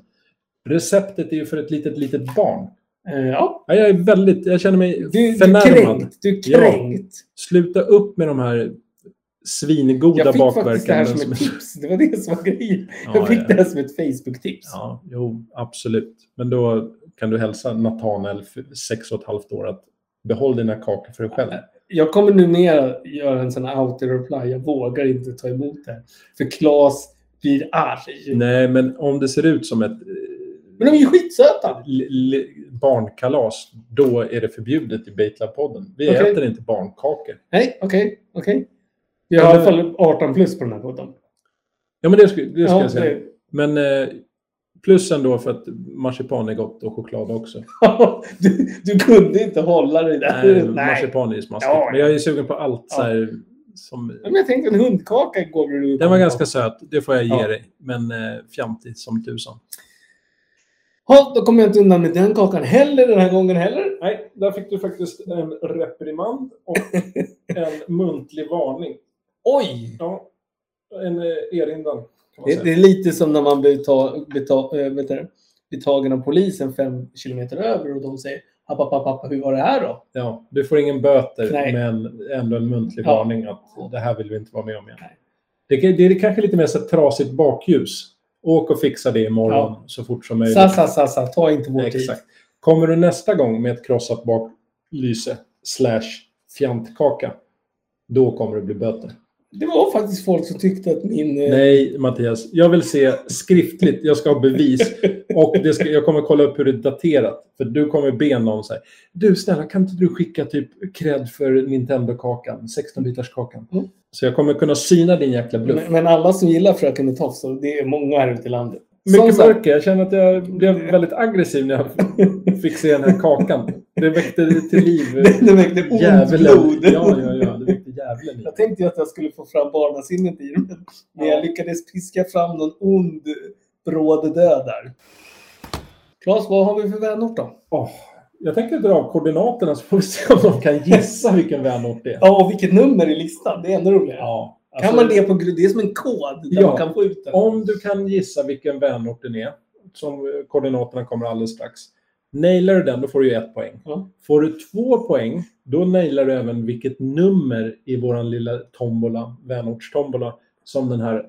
S3: Receptet är ju för ett litet, litet barn.
S2: Eh, Ja,
S3: Ja, Jag är väldigt, jag känner mig
S2: du, du är
S3: förnärmad.
S2: kränkt. Du är
S3: Ja.
S2: kränkt.
S3: Sluta upp med de här svingoda
S2: Jag fick faktiskt det här
S3: bakverken.
S2: som ett tips. Det var det som var grejen. Jag
S3: Ja,
S2: fick
S3: ja.
S2: det här som ett Facebook-tips.
S3: Ja, jo, absolut. Men då kan du hälsa Nathanael, för sex och ett halvt år, att behåll dina kakor för dig själv.
S2: Jag kommer numera göra en sån här auto-reply. Jag vågar inte ta emot det. För Claes blir arg.
S3: Nej, men om det ser ut som ett eh,
S2: Men de är ju skitsöta!
S3: li- li- barnkalas, då är det förbjudet i Bejtlarpodden. Vi
S2: Okej.
S3: äter inte barnkakor.
S2: Nej, okej, okej. Vi har i alla fall 18 plus på den här podden.
S3: Ja, men det, sku, det ska
S2: Ja,
S3: jag säga.
S2: det-
S3: Men eh, plus ändå för att marsipan är gott och choklad också.
S2: du, du kunde inte hålla dig där.
S3: Nej,
S2: Nej.
S3: marsipan är ju smaskigt.
S2: Ja, ja.
S3: Men jag är ju sugen på allt så
S2: Ja.
S3: här, som...
S2: Men jag tänkte en hundkaka går väl ut.
S3: Den var ganska söt, det får jag ge
S2: Ja.
S3: dig. Men eh, fjantig som tusan.
S2: Ja, då kommer jag inte undan med den kakan heller den här gången heller.
S3: Nej, där fick du faktiskt en reprimand och en muntlig varning.
S2: Oj!
S3: Ja, en eh, erinran. Kan man
S2: Det, det
S3: säga.
S2: är lite som när man blir, ta, blir, ta, eh, vet du, det, blir tagen av polisen fem kilometer över och de säger pappa, pappa, pappa, hur var det här då?
S3: Ja, du får ingen böter,
S2: Nej.
S3: men ändå en muntlig
S2: Ja.
S3: varning att det här vill vi inte vara med om igen.
S2: Nej.
S3: Det, kan- det är kanske lite mer så här trasigt bakljus. Åk och fixa det imorgon
S2: Ja.
S3: så fort som möjligt.
S2: Sa, sa, sa, sa, ta inte vår tid.
S3: Exakt. Kommer du nästa gång med ett krossat baklyse slash fjantkaka, då kommer det bli böter.
S2: Det var faktiskt folk som tyckte att min... eh,
S3: Nej, Mattias. Jag vill se skriftligt. Jag ska ha bevis. Och det ska, jag kommer kolla upp hur det är daterat. För du kommer be någon så här. Du, snälla, kan inte du skicka typ cred för Nintendo-kakan? 16-bitarskakan.
S2: Mm.
S3: Så jag kommer kunna syna din jäkla bluff.
S2: Men, men alla som gillar Fröken och Tofs, och det är många här ute i landet. Som
S3: Mycket
S2: sagt,
S3: mörker. Jag känner att jag blev väldigt aggressiv när jag fick se den här kakan. Det väckte till liv
S2: Det, det väckte ont
S3: djävulen.
S2: blod.
S3: Ja, ja, ja. Det väckte djävulen i
S2: Jag tänkte ju att jag skulle få fram barnasinnet i det, men men jag lyckades piska fram någon ond bråd död där. Claes, vad har vi för vänort då?
S3: Åh, Jag tänker dra av koordinaterna så får vi se om de kan gissa vilken vänort det är.
S2: Ja, och vilket nummer i listan? Det är ännu roligare.
S3: Ja, alltså,
S2: kan man det på gru- Det är som en kod där
S3: Ja.
S2: man kan få ut den.
S3: Om du kan gissa vilken vänort den är, som eh, koordinaterna kommer alldeles strax. Nailar du den, då får du ju ett poäng.
S2: Ja.
S3: Får du två poäng, då nailar du även vilket nummer i vår lilla tombola, vänortstombola, som den här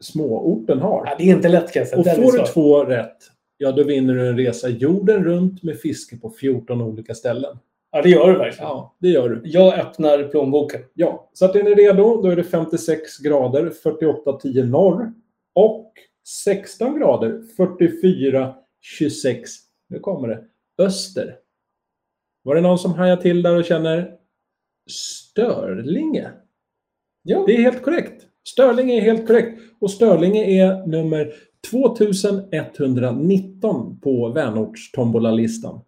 S3: småorten har.
S2: Ja, det är inte lätt kan jag säga.
S3: Och
S2: Den är
S3: får du
S2: svår.
S3: två rätt, ja då vinner du en resa jorden runt med fiske på 14 olika ställen.
S2: Ja, det gör du verkligen.
S3: Ja, det gör du.
S2: Jag öppnar plånboken.
S3: Ja, så att är ni redo, då är det 56 grader 48-10 norr och 16 grader 44-26, nu kommer det, öster. Var det någon som hajade till där och känner Störlinge?
S2: Ja.
S3: Det är helt korrekt. Störlinge är helt korrekt. Och Störlinge är nummer 2119 på vänortstombolalistan.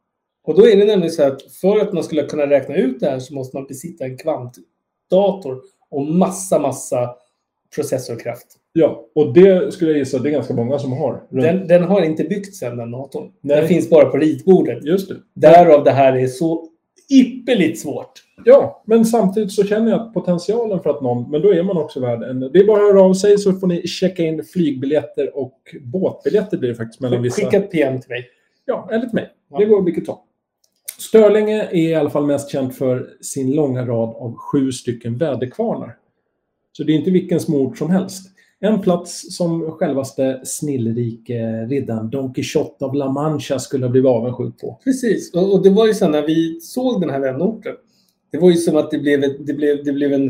S2: Och då är det nämligen så att för att man skulle kunna räkna ut det här så måste man besitta en kvantdator och massa, massa processorkraft.
S3: Ja, och det skulle jag gissa att det är ganska många som har. runt-
S2: Den, den har inte byggts än, den datorn.
S3: Nej.
S2: Den finns bara på ritbordet.
S3: Just det.
S2: Därav det här är så ypperligt svårt.
S3: Ja, men samtidigt så känner jag att potentialen för att någon, men då är man också värd en... Det är bara att höra av sig så får ni checka in flygbiljetter och båtbiljetter blir det faktiskt mellan vissa...
S2: Skicka ett PM till mig.
S3: Ja, eller till mig.
S2: Ja.
S3: Det går vilket ta. Störlinge är i alla fall mest känd för sin långa rad av sju stycken väderkvarnar. Så det är inte vilken småort som helst. En plats som självaste snillrike riddaren Don Quixote av La Mancha skulle ha blivit avundsjuk på.
S2: Precis. Och, och det var ju så när vi såg den här vänorten. Det var ju som att det blev, ett- det blev, det blev en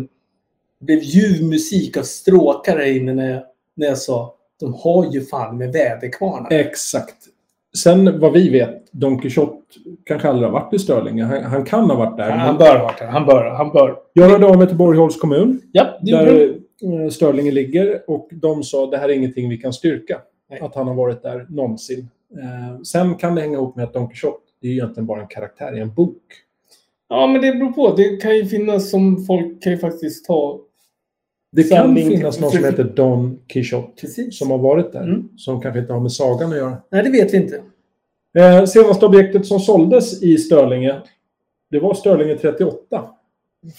S2: det blev ljuv musik av stråkar här inne när jag, när jag sa de har ju fan med väderkvarnar.
S3: Eh, Exakt. Sen vad vi vet, Don Quixote kanske aldrig har varit i Störlinge. Han, han kan ha varit där.
S2: Han,
S3: men-
S2: han bör ha varit där. Han bör. Han bör.
S3: Jag hörde av mig till Borgholms kommun,
S2: Ja, det gjorde du.
S3: där eh, Störlinge ligger, och de sa det här är ingenting vi kan styrka.
S2: Nej.
S3: Att han har varit där någonsin. Eh, sen kan det hänga ihop med att Don Quixote, det är ju egentligen bara en karaktär i en bok.
S2: Ja, men det beror på. Det kan ju finnas som folk kan ju faktiskt ta.
S3: Det kan
S2: Sanning.
S3: finnas någon som heter Don Quixote
S2: Precis.
S3: som har varit där,
S2: Mm.
S3: som kanske inte har med sagan att göra.
S2: Nej, det vet vi inte.
S3: Eh, senaste objektet som såldes i Störlinge, det var Störlinge 38.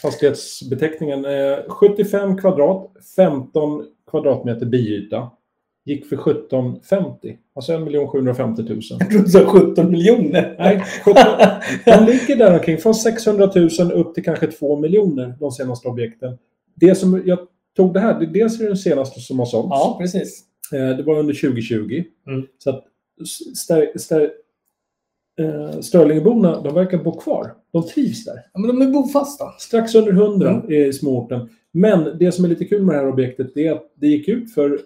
S3: Fastighetsbeteckningen. Eh, 75 kvadrat, 15 kvadratmeter biyta. Gick för 1750. Alltså 1 750 000.
S2: Jag trodde du sa 17 miljoner.
S3: Nej, 17, de ligger där omkring. Från 600 000 upp till kanske 2 miljoner, de senaste objekten. Det som jag tog det här, det, dels är det den senaste som har sålts.
S2: ja, precis.
S3: Eh, Det var under 2020.
S2: Mm.
S3: Så att stär, stär, eh, Störlingeborna, de verkar bo kvar. De trivs där.
S2: Ja, men de är bofasta.
S3: Strax under 100
S2: Mm.
S3: i småorten. Men det som är lite kul med det här objektet det är att det gick ut för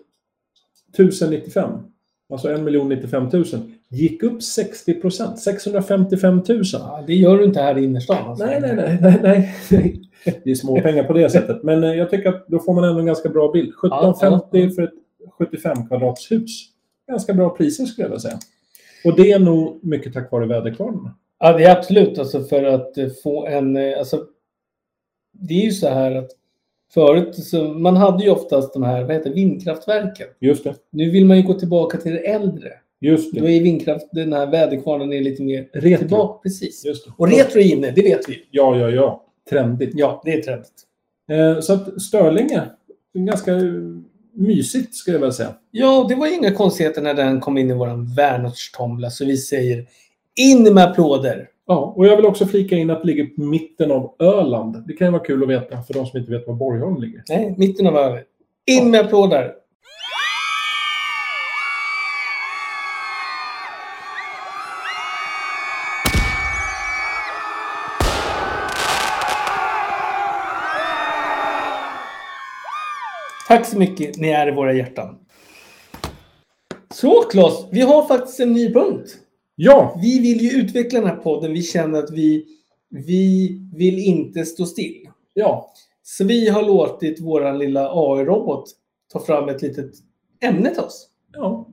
S3: 1095. Alltså 1 95 000. Gick upp 60 procent. 655 000.
S2: Ja, det gör du inte här i innerstan. alltså.
S3: Nej, nej, nej, nej, nej. Det är små pengar på det sättet. Men eh, jag tycker att då får man ändå en ganska bra bild. 1750 för ett 75 kvadratshus. Ganska bra priser skulle jag vilja säga. Och det är nog mycket tack vare väderkvarnarna.
S2: Ja, det är absolut. Alltså för att eh, få en... eh, Alltså, det är ju så här att förut så man hade ju oftast de här vad heter, det, vindkraftverken.
S3: Just det.
S2: Nu vill man ju gå tillbaka till det äldre.
S3: Just
S2: Då
S3: det.
S2: är vindkraft, den här väderkvarnen är lite mer
S3: Retro.
S2: tillbaka. Precis.
S3: Just det.
S2: Och retro är inne, det vet vi.
S3: Ja, ja, ja. Trendigt.
S2: Ja, det är trendigt.
S3: Eh, Så att Störlinge, en ganska eh, mysigt skulle jag vilja säga.
S2: Ja, det var inga konstigheter när den kom in i vår Wernertomla. Så vi säger in med applåder.
S3: Ja, och jag vill också flika in att det ligger på mitten av Öland. Det kan ju vara kul att veta för de som inte vet var Borgholm ligger.
S2: Nej, mitten av över. In med applåder. Tack så mycket. Ni är i våra hjärtan. Så Claes, vi har faktiskt en ny punkt.
S3: Ja,
S2: Vi vill ju utveckla den här podden. Vi känner att vi, vi vill inte stå still.
S3: ja,
S2: Så vi har låtit vår lilla AI-robot ta fram ett litet ämne till oss.
S3: ja.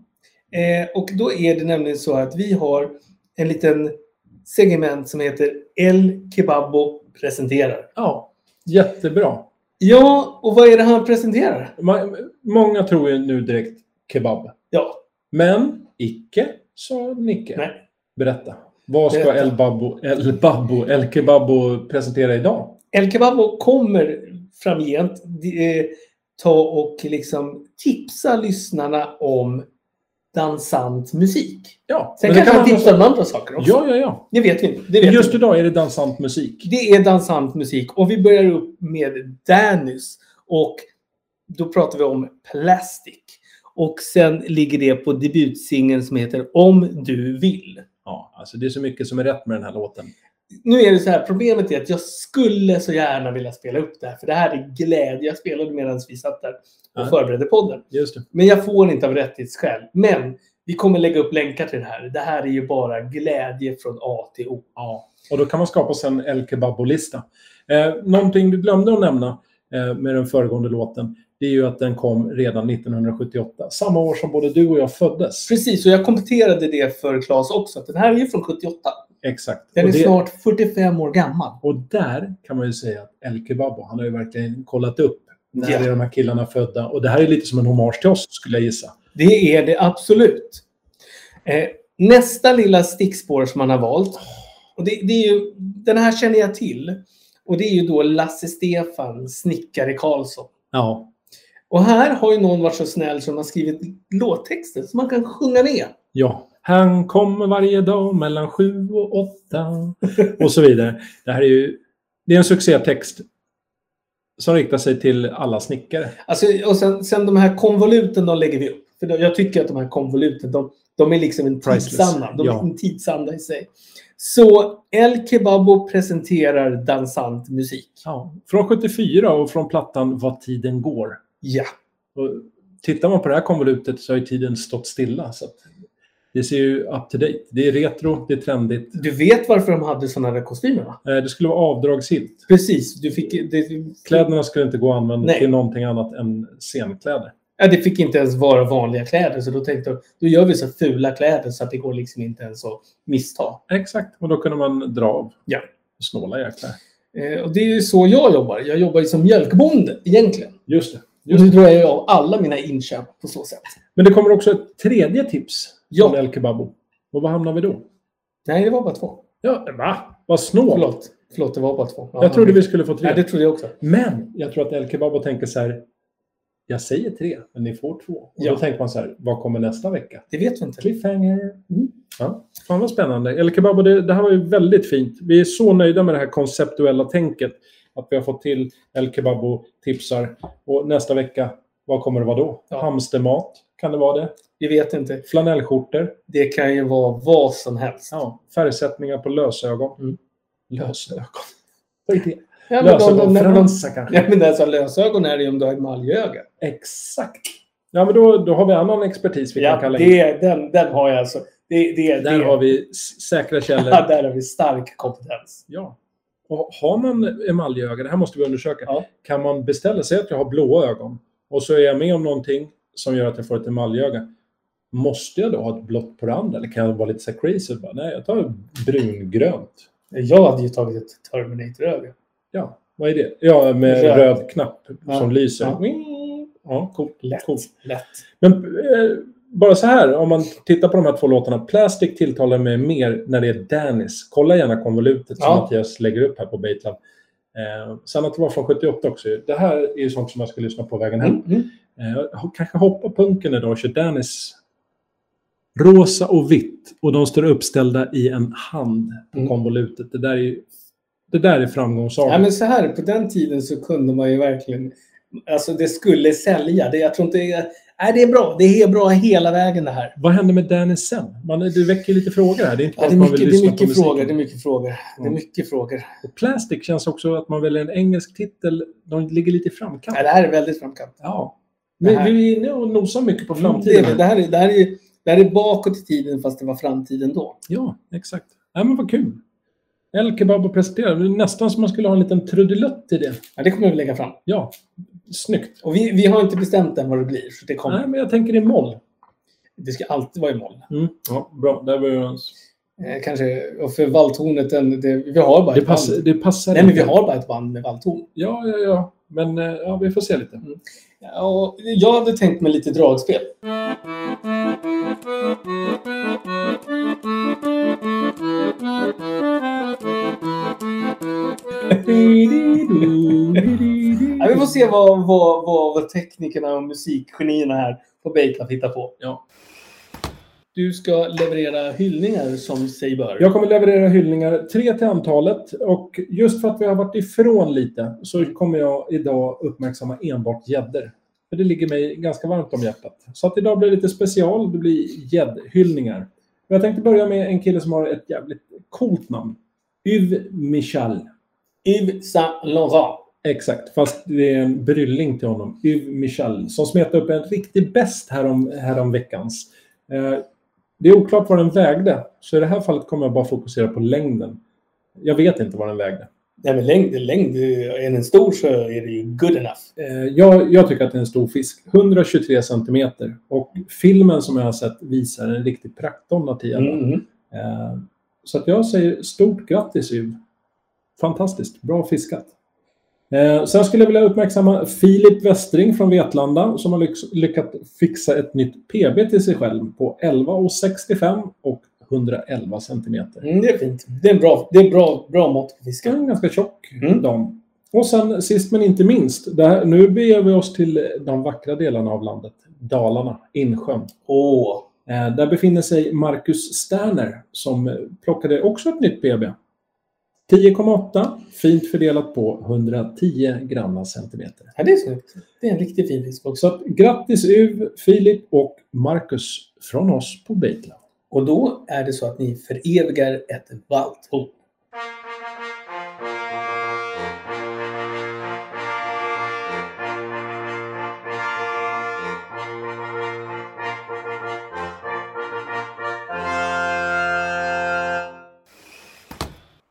S2: Eh, och då är det nämligen så att vi har en liten segment som heter El Kebabo presenterar.
S3: ja. Jättebra.
S2: Ja, och vad är det han presenterar?
S3: Man, många tror ju nu direkt kebab.
S2: Ja,
S3: Men icke, sa Nicke.
S2: nej.
S3: Berätta. Vad ska
S2: Berätta.
S3: El Babbo, El Babbo, El Kebabbo presentera idag?
S2: El Kebabo kommer framgent eh, ta och liksom tipsa lyssnarna om dansant musik.
S3: Ja,
S2: Sen
S3: men det
S2: kanske han
S3: man
S2: tipsar om
S3: också-
S2: andra saker också.
S3: Ja, ja, ja.
S2: Det vet vi inte. Det, vet
S3: Just
S2: vi. inte.
S3: idag är det dansant musik.
S2: det är dansant musik och vi börjar upp med Danus. Och då pratar vi om Plastic. Och sen ligger det på debutsingeln som heter Om du vill.
S3: Ja, alltså det är så mycket som är rätt med den här låten.
S2: Nu är det så här, problemet är att jag skulle så gärna vilja spela upp det här. För det här är glädje. Jag spelade medan vi satt där och
S3: Ja.
S2: förberedde podden.
S3: Just det.
S2: Men jag får inte av rättighetsskäl. Men vi kommer lägga upp länkar till det här. Det här är ju bara glädje från A till O.
S3: Ja. Och då kan man skapa sig en El Kebabbo-lista. Eh, någonting du glömde att nämna eh, med den föregående låten, det är ju att den kom redan 1978. Samma år som både du och jag föddes.
S2: Precis, och jag kompletterade det för Claes också. Att den här är ju från 78.
S3: Exakt.
S2: Den
S3: Och
S2: är
S3: det-
S2: snart 45 år gammal.
S3: Och där kan man ju säga att El Kebabo, han har ju verkligen kollat upp när
S2: Ja.
S3: är de här killarna födda. Och det här är lite som en hommage till oss, skulle jag gissa.
S2: Det är det absolut. Eh, nästa lilla stickspår som han har valt. Och det, det är ju, den här känner jag till. Och det är ju då Lasse Stefan, snickare Karlsson.
S3: Ja.
S2: Och här har ju någon varit så snäll som har skrivit låttexter som man kan sjunga med.
S3: Ja. Han kommer varje dag mellan sju och åtta. Och så vidare. Det här är ju... Det är en succétext som riktar sig till alla snickare.
S2: Alltså, och sen, sen de här konvoluten, de lägger vi upp. För då- jag tycker att de här konvoluten, de, de är liksom en
S3: Priceless.
S2: tidsanda. De
S3: Ja.
S2: är en tidsanda i sig. Så El Kebabo presenterar dansant musik.
S3: Ja. Från 74 och från plattan Vad tiden går.
S2: Ja.
S3: Och tittar man på det här konvolutet så har ju tiden stått stilla. Så att det ser ju up to date. Det är retro, det är trendigt.
S2: Du vet varför de hade sådana där kostymer, va?
S3: Eh, Det skulle vara avdragsgillt.
S2: Precis. Du
S3: Mm.
S2: fick, det,
S3: Kläderna skulle inte gå att använda
S2: Nej.
S3: till någonting annat än scenkläder.
S2: ja, det fick inte ens vara vanliga kläder. Så då tänkte jag, då gör vi så fula kläder så att det går liksom inte ens att missta.
S3: Exakt, och då kunde man dra av.
S2: Ja.
S3: Snåla jäklar.
S2: Eh, och det är ju så jag jobbar. Jag jobbar ju som mjölkbonde, egentligen.
S3: Just det.
S2: Och
S3: Just.
S2: nu drar jag av alla mina inköp på så sätt.
S3: Men det kommer också ett tredje tips
S2: Ja.
S3: från El Kebabo. Och var hamnar vi då?
S2: Nej, det var bara två.
S3: Ja, va? Vad snål.
S2: Förlåt. Förlåt, det var bara två. Ja,
S3: Jag trodde vi skulle få
S2: Ja,
S3: tre.
S2: det trodde jag också.
S3: Men jag tror att El Kebabo tänker så här. Jag säger tre, men ni får två. Och
S2: Ja.
S3: då tänker man så här, vad kommer nästa vecka?
S2: Det vet vi inte.
S3: Cliffhanger.
S2: Mm.
S3: Ja, fan vad spännande. El Kebabo, det, det här var ju väldigt fint. Vi är så nöjda med det här konceptuella tänket. Att vi har fått till El Kebabo tipsar. Och nästa vecka, vad kommer det vara då?
S2: Ja.
S3: Hamstermat, kan det vara det?
S2: Vi vet inte.
S3: Flanellskjortor?
S2: Det kan ju vara vad som helst.
S3: Ja. Färgsättningar på lösögon?
S2: Mm.
S3: Lösögon? Vad är det?
S2: Ja, men de- de- de- de-
S3: Lösögonfransar kanske?
S2: Ja, men alltså, lösögon är det ju om du har emaljöga.
S3: Exakt. Ja, men då, då har vi annan expertis vi kan
S2: Ja,
S3: kalla in.
S2: det, den, den har jag alltså. Det, det,
S3: Där
S2: det.
S3: har vi s- säkra källor.
S2: Ja, där har vi stark kompetens.
S3: Ja. Och har man emaljöga, det här måste vi undersöka,
S2: Ja.
S3: kan man beställa sig att jag har blåa ögon och så är jag med om någonting som gör att jag får ett emaljöga. Måste jag då ha ett blått på det andra eller kan jag vara lite så här crazy? och Bara, nej, jag tar brungrönt.
S2: Jag hade ju tagit ett Terminator-öga.
S3: Ja, vad är det? Ja, med
S2: Röd.
S3: röd, knapp
S2: Ja.
S3: som lyser.
S2: Ja.
S3: Ja, coolt.
S2: Lätt.
S3: coolt.
S2: Lätt.
S3: Men eh, bara så här, om man tittar på de här två låtarna. Plastic tilltalar mig mer när det är Dennis. Kolla gärna konvolutet som
S2: Ja.
S3: Mattias lägger upp här på Batelab. Eh, sen att det var från 78 också. Det här är ju sånt som jag ska lyssna på vägen hem.
S2: Mm.
S3: Eh, jag kanske hoppar punken idag och kör Dennis. Rosa och vitt och de står uppställda i en hand på
S2: Mm.
S3: konvolutet. Det där är, ju- det där är framgångssagan.
S2: Ja, men så här, på den tiden så kunde man ju verkligen... Alltså det skulle sälja. Det, jag tror inte... Nej, det är bra. Det är bra hela vägen det här.
S3: Vad händer med Dennis sen? Man, det väcker lite frågor här. Det är inte
S2: Ja,
S3: bara
S2: det, är
S3: att man
S2: mycket,
S3: vill
S2: det, är
S3: lyssna på
S2: mycket
S3: musiken. Mm.
S2: frågor, det är mycket frågor. Det är
S3: Ja.
S2: mycket frågor.
S3: Och Plastic känns också att man väljer en engelsk titel. De ligger lite i framkant.
S2: Ja, det här är väldigt framkant.
S3: Ja.
S2: Det
S3: Vi,
S2: här-
S3: vi är inne och nosar mycket på
S2: Det,
S3: framtiden.
S2: är- det, här är, det, här är, det här är bakåt i tiden fast det var framtiden då.
S3: Ja, exakt. Ja, men vad kul. El Kebab och presenterar. Det är Nästan som man skulle ha en liten trudelutt i det.
S2: Ja, det kommer vi lägga fram.
S3: Ja, snyggt.
S2: Och vi, vi har inte bestämt än vad det blir. Så det, kommer,
S3: Nej, men jag tänker i moll.
S2: det ska alltid vara i moll.
S3: Mm. Ja, bra. Där var jag...
S2: Eh, kanske, och för valthornet, den, det, vi har bara
S3: det,
S2: ett band.
S3: passar, det passar
S2: Nej, men vi
S3: inte.
S2: har bara ett band med valthorn.
S3: Ja, ja, ja. Men eh, ja, vi får se lite.
S2: Ja, och jag hade tänkt mig lite dragspel. Ja, vi får se vad, vad, vad, vad teknikerna och musikgenierna här på Bakelaf hittar på.
S3: Ja.
S2: Du ska leverera hyllningar som sig bör.
S3: Jag kommer leverera hyllningar, tre till antalet. Och just för att vi har varit ifrån lite så kommer jag idag uppmärksamma enbart gäddor. För det ligger mig ganska varmt om hjärtat. Så att idag blir det lite special, det blir gäddhyllningar. Och Jag tänkte börja med en kille som har ett jävligt coolt namn. Yves Michal.
S2: Yves Saint Laurent.
S3: Exakt, fast det är en brylling till honom. Yves Michel, som smetade upp en riktig bäst härom, härom veckans. Eh, det är oklart vad den vägde, så i det här fallet kommer jag bara fokusera på längden. Jag vet inte vad den vägde.
S2: Nej, men längd, längd. Är den stor så är det ju good enough.
S3: Eh, jag, jag tycker att det är en stor fisk. 123 centimeter. Och filmen som jag har sett visar en riktig praktdonna till gädda.
S2: Mm.
S3: Eh, Så att jag säger stort grattis Yv. Fantastiskt, bra fiskat. Eh, Sen skulle jag vilja uppmärksamma Filip Westring från Vetlanda som har lyx- lyckats fixa ett nytt PB till sig själv på 11,65 och 111 centimeter.
S2: Mm, det är fint. Det är en bra, det är en bra, bra mått på
S3: Det är
S2: fiskar.
S3: en ganska tjock
S2: Mm.
S3: dam. Och sen sist men inte minst, det här, nu beger vi oss till de vackra delarna av landet. Dalarna, Insjön.
S2: Åh.
S3: Eh, Där befinner sig Marcus Sterner som eh, plockade också ett nytt PB. 10,8 fint fördelat på 110 granna centimeter.
S2: Ja, det är snyggt. Det är en riktigt fin fisk också.
S3: Så att, grattis Uv, Filip och Marcus från oss på Baitlab.
S2: Och då är det så att ni förevigar ett valthorn.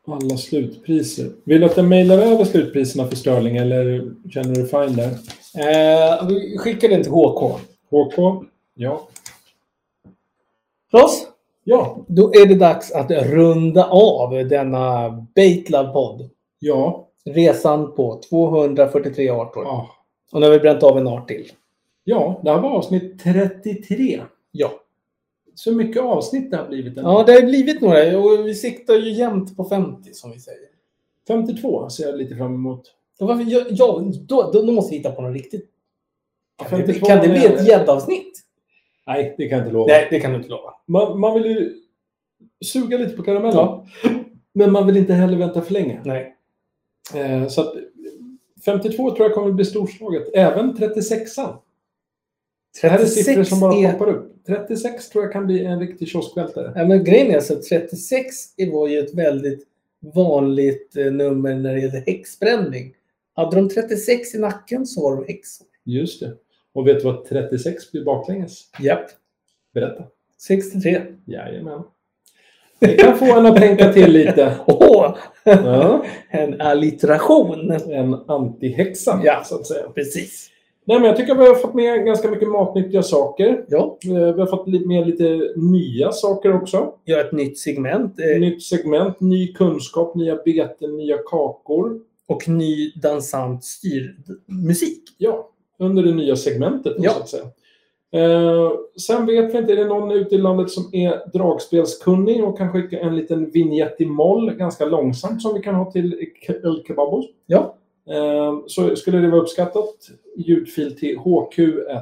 S3: Alla slutpriser. Vill du att jag mejlar över slutpriserna för Sterling eller känner du fine där?
S2: Eh, vi skickar den till HK.
S3: HK? Ja.
S2: Klas,
S3: Ja.
S2: då är det dags att runda av denna Baitlove-podd.
S3: Ja.
S2: Resan på 243 arter.
S3: Ah.
S2: Och nu har vi bränt av en art till.
S3: Ja, det här var avsnitt 33.
S2: Ja.
S3: Så mycket avsnitt det har blivit. ändå.
S2: Ja, det har ju blivit några och vi siktar ju jämnt på 50 som vi säger.
S3: 52 ser jag lite fram emot.
S2: Då, varför, ja, ja, då, då, då måste vi hitta på något riktigt. Kan det,
S3: 52
S2: kan det bli
S3: är-
S2: ett gäddavsnitt?
S3: Nej, det kan jag inte lova.
S2: Nej, det kan du inte lova.
S3: Man, man vill ju suga lite på karamellen.
S2: Ja.
S3: Men man vill inte heller vänta för länge.
S2: Nej.
S3: Eh, så att 52 tror jag kommer bli storslaget. Även 36an. Det här är siffror
S2: 36
S3: som bara
S2: är-
S3: poppar upp. 36 tror jag kan bli en riktig kioskvältare.
S2: Ja, men grejen är alltså att 36 är- var ju ett väldigt vanligt eh, nummer när det gäller häxbränning. Hade de 36 i nacken så var de häxor.
S3: Just det. Och vet du vad 36 blir baklänges?
S2: Japp.
S3: Berätta.
S2: 63.
S3: Jajamän. Det kan få en att tänka till lite.
S2: Åh!
S3: Ja.
S2: En allitteration.
S3: En antihäxa,
S2: Ja.
S3: så att säga.
S2: Precis.
S3: Nej, men jag tycker att vi har fått med ganska mycket matnyttiga saker.
S2: Ja,
S3: Eh, Vi har fått li- med lite nya saker också.
S2: gör ett nytt segment. eh,
S3: Nytt segment, ny kunskap, nya beten, nya kakor.
S2: Och ny dansant styrmusik.
S3: Ja, under det nya segmentet.
S2: Ja.
S3: Så att säga. Eh, sen vet vi inte, är det någon ute i landet som är dragspelskunnig och kan skicka en liten vignett i moll ganska långsamt som vi kan ha till K- El Kebabos?
S2: Ja.
S3: eh, så skulle det vara uppskattat. Ljudfil till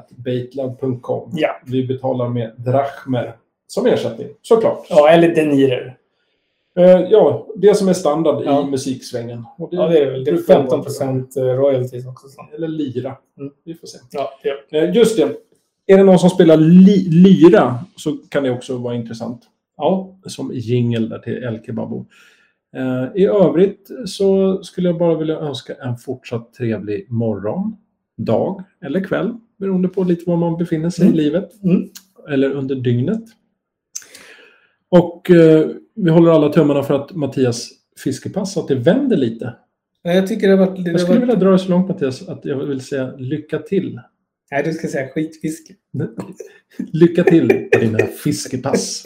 S3: hq.batelab.com.
S2: Ja.
S3: Vi betalar med drachmer som ersättning, såklart.
S2: Ja, eller denirer.
S3: Eh, ja, det som är standard
S2: Ja.
S3: i musiksvängen. Och
S2: Ja, det är väl. Det är
S3: brukar vara
S2: 15 procent eh, royalties också. Så.
S3: bra. Eller lira.
S2: Mm.
S3: Vi får se.
S2: Ja, ja.
S3: Eh, just det. Är det någon som spelar li- lyra så kan det också vara intressant. Ja, som jingel där till El Kebabo. Eh, I övrigt så skulle jag bara vilja önska en fortsatt trevlig morgon, dag eller kväll. Beroende på lite var man befinner sig
S2: Mm.
S3: i livet.
S2: Mm.
S3: Eller under dygnet. Och eh, vi håller alla tummarna för att Mattias fiskepass, att det vänder lite.
S2: Nej, Jag tycker det har varit...
S3: Jag
S2: Det har
S3: skulle
S2: varit...
S3: vilja dra det så långt Mattias att jag vill säga lycka till
S2: Nej, du ska säga skitfiske.
S3: Lycka till på dina fiskepass.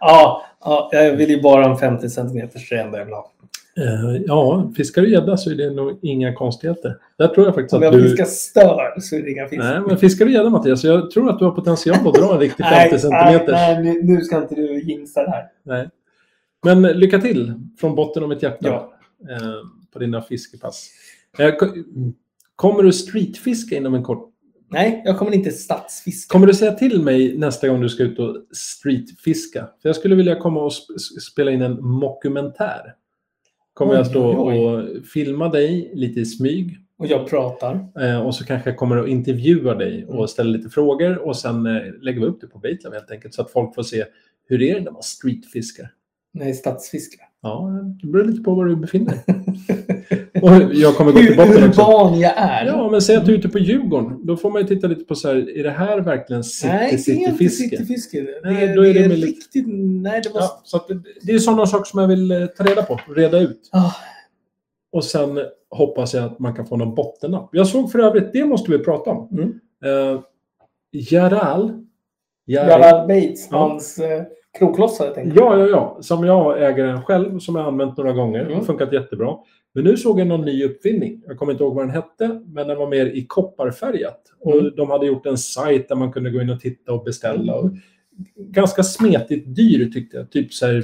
S2: Ja, ja, jag vill ju bara ha en 50 centimeters rända jag vill ha.
S3: Eh, ja, fiskar du gädda så är det nog inga konstigheter. Där tror jag faktiskt
S2: Om
S3: att
S2: jag
S3: du...
S2: fiskar stör så är det inga fisk.
S3: Nej, men fiskar du gädda Mattias, så jag tror att du har potential att dra en riktig 50
S2: nej,
S3: centimeter.
S2: nej, nu- nu ska inte du jinxa det här.
S3: Men eh, lycka till från botten av mitt hjärta
S2: Ja.
S3: eh, på dina fiskepass. Eh, ko- mm. kommer du streetfiska inom en kort...
S2: Nej, jag kommer inte stadsfiska.
S3: Kommer du säga till mig nästa gång du ska ut och streetfiska? För jag skulle vilja komma och sp- s- spela in en mockumentär. Kommer
S2: Oj,
S3: jag stå
S2: oj, oj.
S3: och filma dig lite i smyg
S2: Och jag pratar.
S3: Eh, Och så kanske jag kommer och intervjuar dig
S2: Mm.
S3: och ställer lite frågor och sen eh, lägger vi upp det på Batelab helt enkelt så att folk får se hur det är när man streetfiskar.
S2: Nej, stadsfiska.
S3: Ja, det beror lite på var du befinner dig. och jag kommer gå till botten
S2: Hur
S3: också.
S2: urban jag är.
S3: Ja, men säg att du är ute på Djurgården. Då får man ju titta lite på så här, är det här verkligen
S2: nej, det är inte
S3: city-city-fiske?
S2: cityfiske. Det,
S3: Nej,
S2: det,
S3: då är
S2: det
S3: det
S2: är
S3: med lite-
S2: riktigt... Nej, det var...
S3: Ja, så att det- det är sådana saker som jag vill eh, ta reda på, reda ut.
S2: Ah,
S3: Och sen hoppas jag att man kan få någon bottennapp. Jag såg för övrigt, det måste vi prata om.
S2: Mm.
S3: Eh, Jaral. Jaral.
S2: Gerard Bates,
S3: Ja.
S2: hans eh, kroklossare, tänker jag.
S3: Ja, ja, ja. Som jag äger den själv, som jag har använt några gånger. Det har
S2: Mm.
S3: funkat jättebra. Men nu såg jag någon ny uppfinning. Jag kommer inte ihåg vad den hette, men den var mer i kopparfärgat.
S2: Mm.
S3: Och de hade gjort en sajt där man kunde gå in och titta och beställa.
S2: Mm.
S3: Och ganska smetigt dyr tyckte jag. Typ så här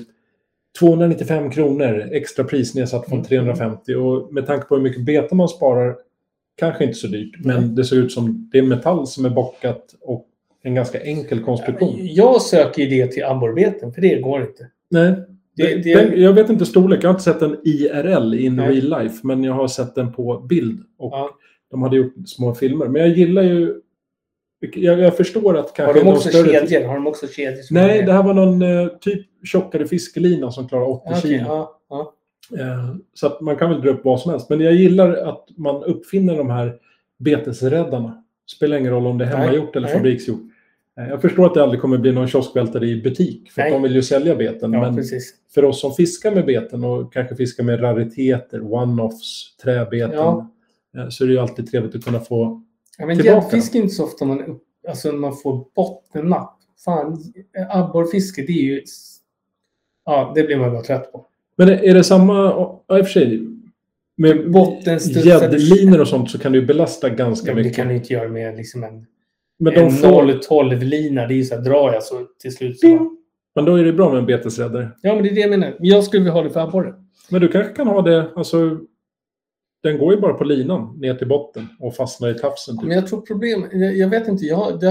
S3: 295 kronor extra pris nedsatt från
S2: Mm.
S3: 350. Och med tanke på hur mycket beta man sparar, kanske inte så dyrt.
S2: Nej.
S3: Men det ser ut som det är metall som är bockat och en ganska enkel konstruktion.
S2: Jag söker ju det till abborrbeten, för det går inte.
S3: Nej.
S2: Det-
S3: Den-
S2: det-
S3: den, jag vet inte storlek. Jag har inte sett den IRL, in
S2: Nej.
S3: real life, men jag har sett den på bild. Och
S2: Ja.
S3: De hade gjort små filmer. Men jag gillar ju... Jag, jag förstår att kanske...
S2: Har de
S3: någon
S2: också
S3: större-
S2: kedjor? Har de också kedjor? som
S3: Nej,
S2: är-
S3: det här var någon eh, typ tjockare fiskelina som klarar 80
S2: Ja, Ah, okej,
S3: kilo.
S2: ja, ja.
S3: Eh, så att man kan väl dra upp vad som helst. Men jag gillar att man uppfinner de här betesräddarna. Spelar ingen roll om det är
S2: Nej,
S3: hemmagjort eller
S2: nej.
S3: fabriksgjort. Eh, Jag förstår att det aldrig kommer bli någon kioskvältare i butik, för att
S2: Nej.
S3: de vill ju sälja beten.
S2: ja
S3: men
S2: precis.
S3: för oss som fiskar med beten och kanske fiskar med rariteter, one-offs, träbeten,
S2: Ja.
S3: eh, så är det ju alltid trevligt att kunna få...
S2: Ja, men
S3: Tillbaka
S2: gäddfiske är inte så ofta man, upp, alltså, man får bottennapp. Fan, abborrfiske, det är ju... Ja, det blir man bara trött på.
S3: Men är det samma... Ja, i och för sig. Med
S2: Bottenstudsar-
S3: gäddlinor och sånt så kan du ju belasta ganska
S2: Ja, men det
S3: mycket.
S2: kan du inte göra med liksom en,
S3: Men, de
S2: en
S3: får,
S2: 0-12-lina. Det är ju så här, drar jag så till slut så...
S3: Ping. men då är det bra med en betesräddare.
S2: Ja, men det är det jag menar. Men Jag skulle vilja ha det för abborre.
S3: Men du kanske kan ha det... Alltså, den går ju bara på linan ner till botten och fastnar i tafsen.
S2: Men
S3: Typ.
S2: jag tror problem... Jag, jag vet inte. Jag, det,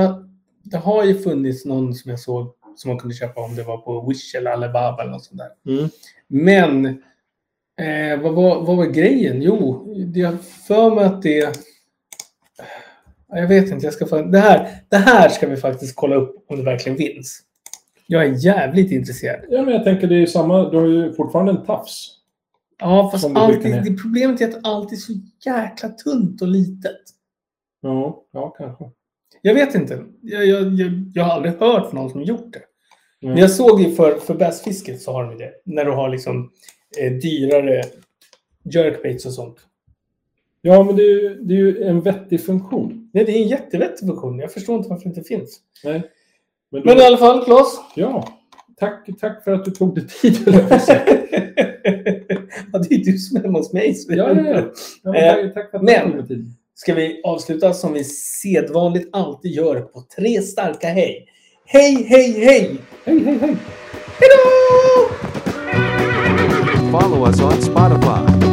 S2: det har ju funnits någon som jag såg som man kunde köpa om det var på Wish eller Alibaba eller något sånt där.
S3: Mm.
S2: Men eh, vad, var, vad var grejen? Jo, det- jag har för mig att det... Ja, Jag vet inte. Jag ska fan, det, här, det här ska vi faktiskt kolla upp om det verkligen finns. Jag är jävligt intresserad.
S3: Ja, men jag tänker det är ju samma... Du har ju fortfarande en tafs.
S2: Ja, fast
S3: Som du brukar
S2: alltid,
S3: med.
S2: det problemet är att allt är så jäkla tunt och litet.
S3: Ja, ja kanske.
S2: Jag vet inte. Jag, jag, jag, jag har aldrig hört någon som gjort det.
S3: Mm.
S2: Men jag såg ju för, för bassfisket så har de ju det. När du har liksom eh, dyrare jerkbaits och sånt.
S3: Ja, men det är, ju, det är ju en vettig funktion.
S2: Nej, det är en jättevettig funktion. Jag förstår inte varför det inte finns.
S3: Nej. Men då,
S2: Men i alla fall, Claes.
S3: Ja, tack, tack för att du tog dig tid. höll jag på att säga.
S2: ja, det är du som är hemma hos mig. så-
S3: ja, ja, ja. ja Eh, men tack, tack för att du
S2: men-
S3: tog dig tid.
S2: Ska vi avsluta som vi sedvanligt alltid gör på tre starka hej. Hej, hej, hej!
S3: Hej, hej, hej.
S2: Hejdå!
S1: Follow us on Spotify.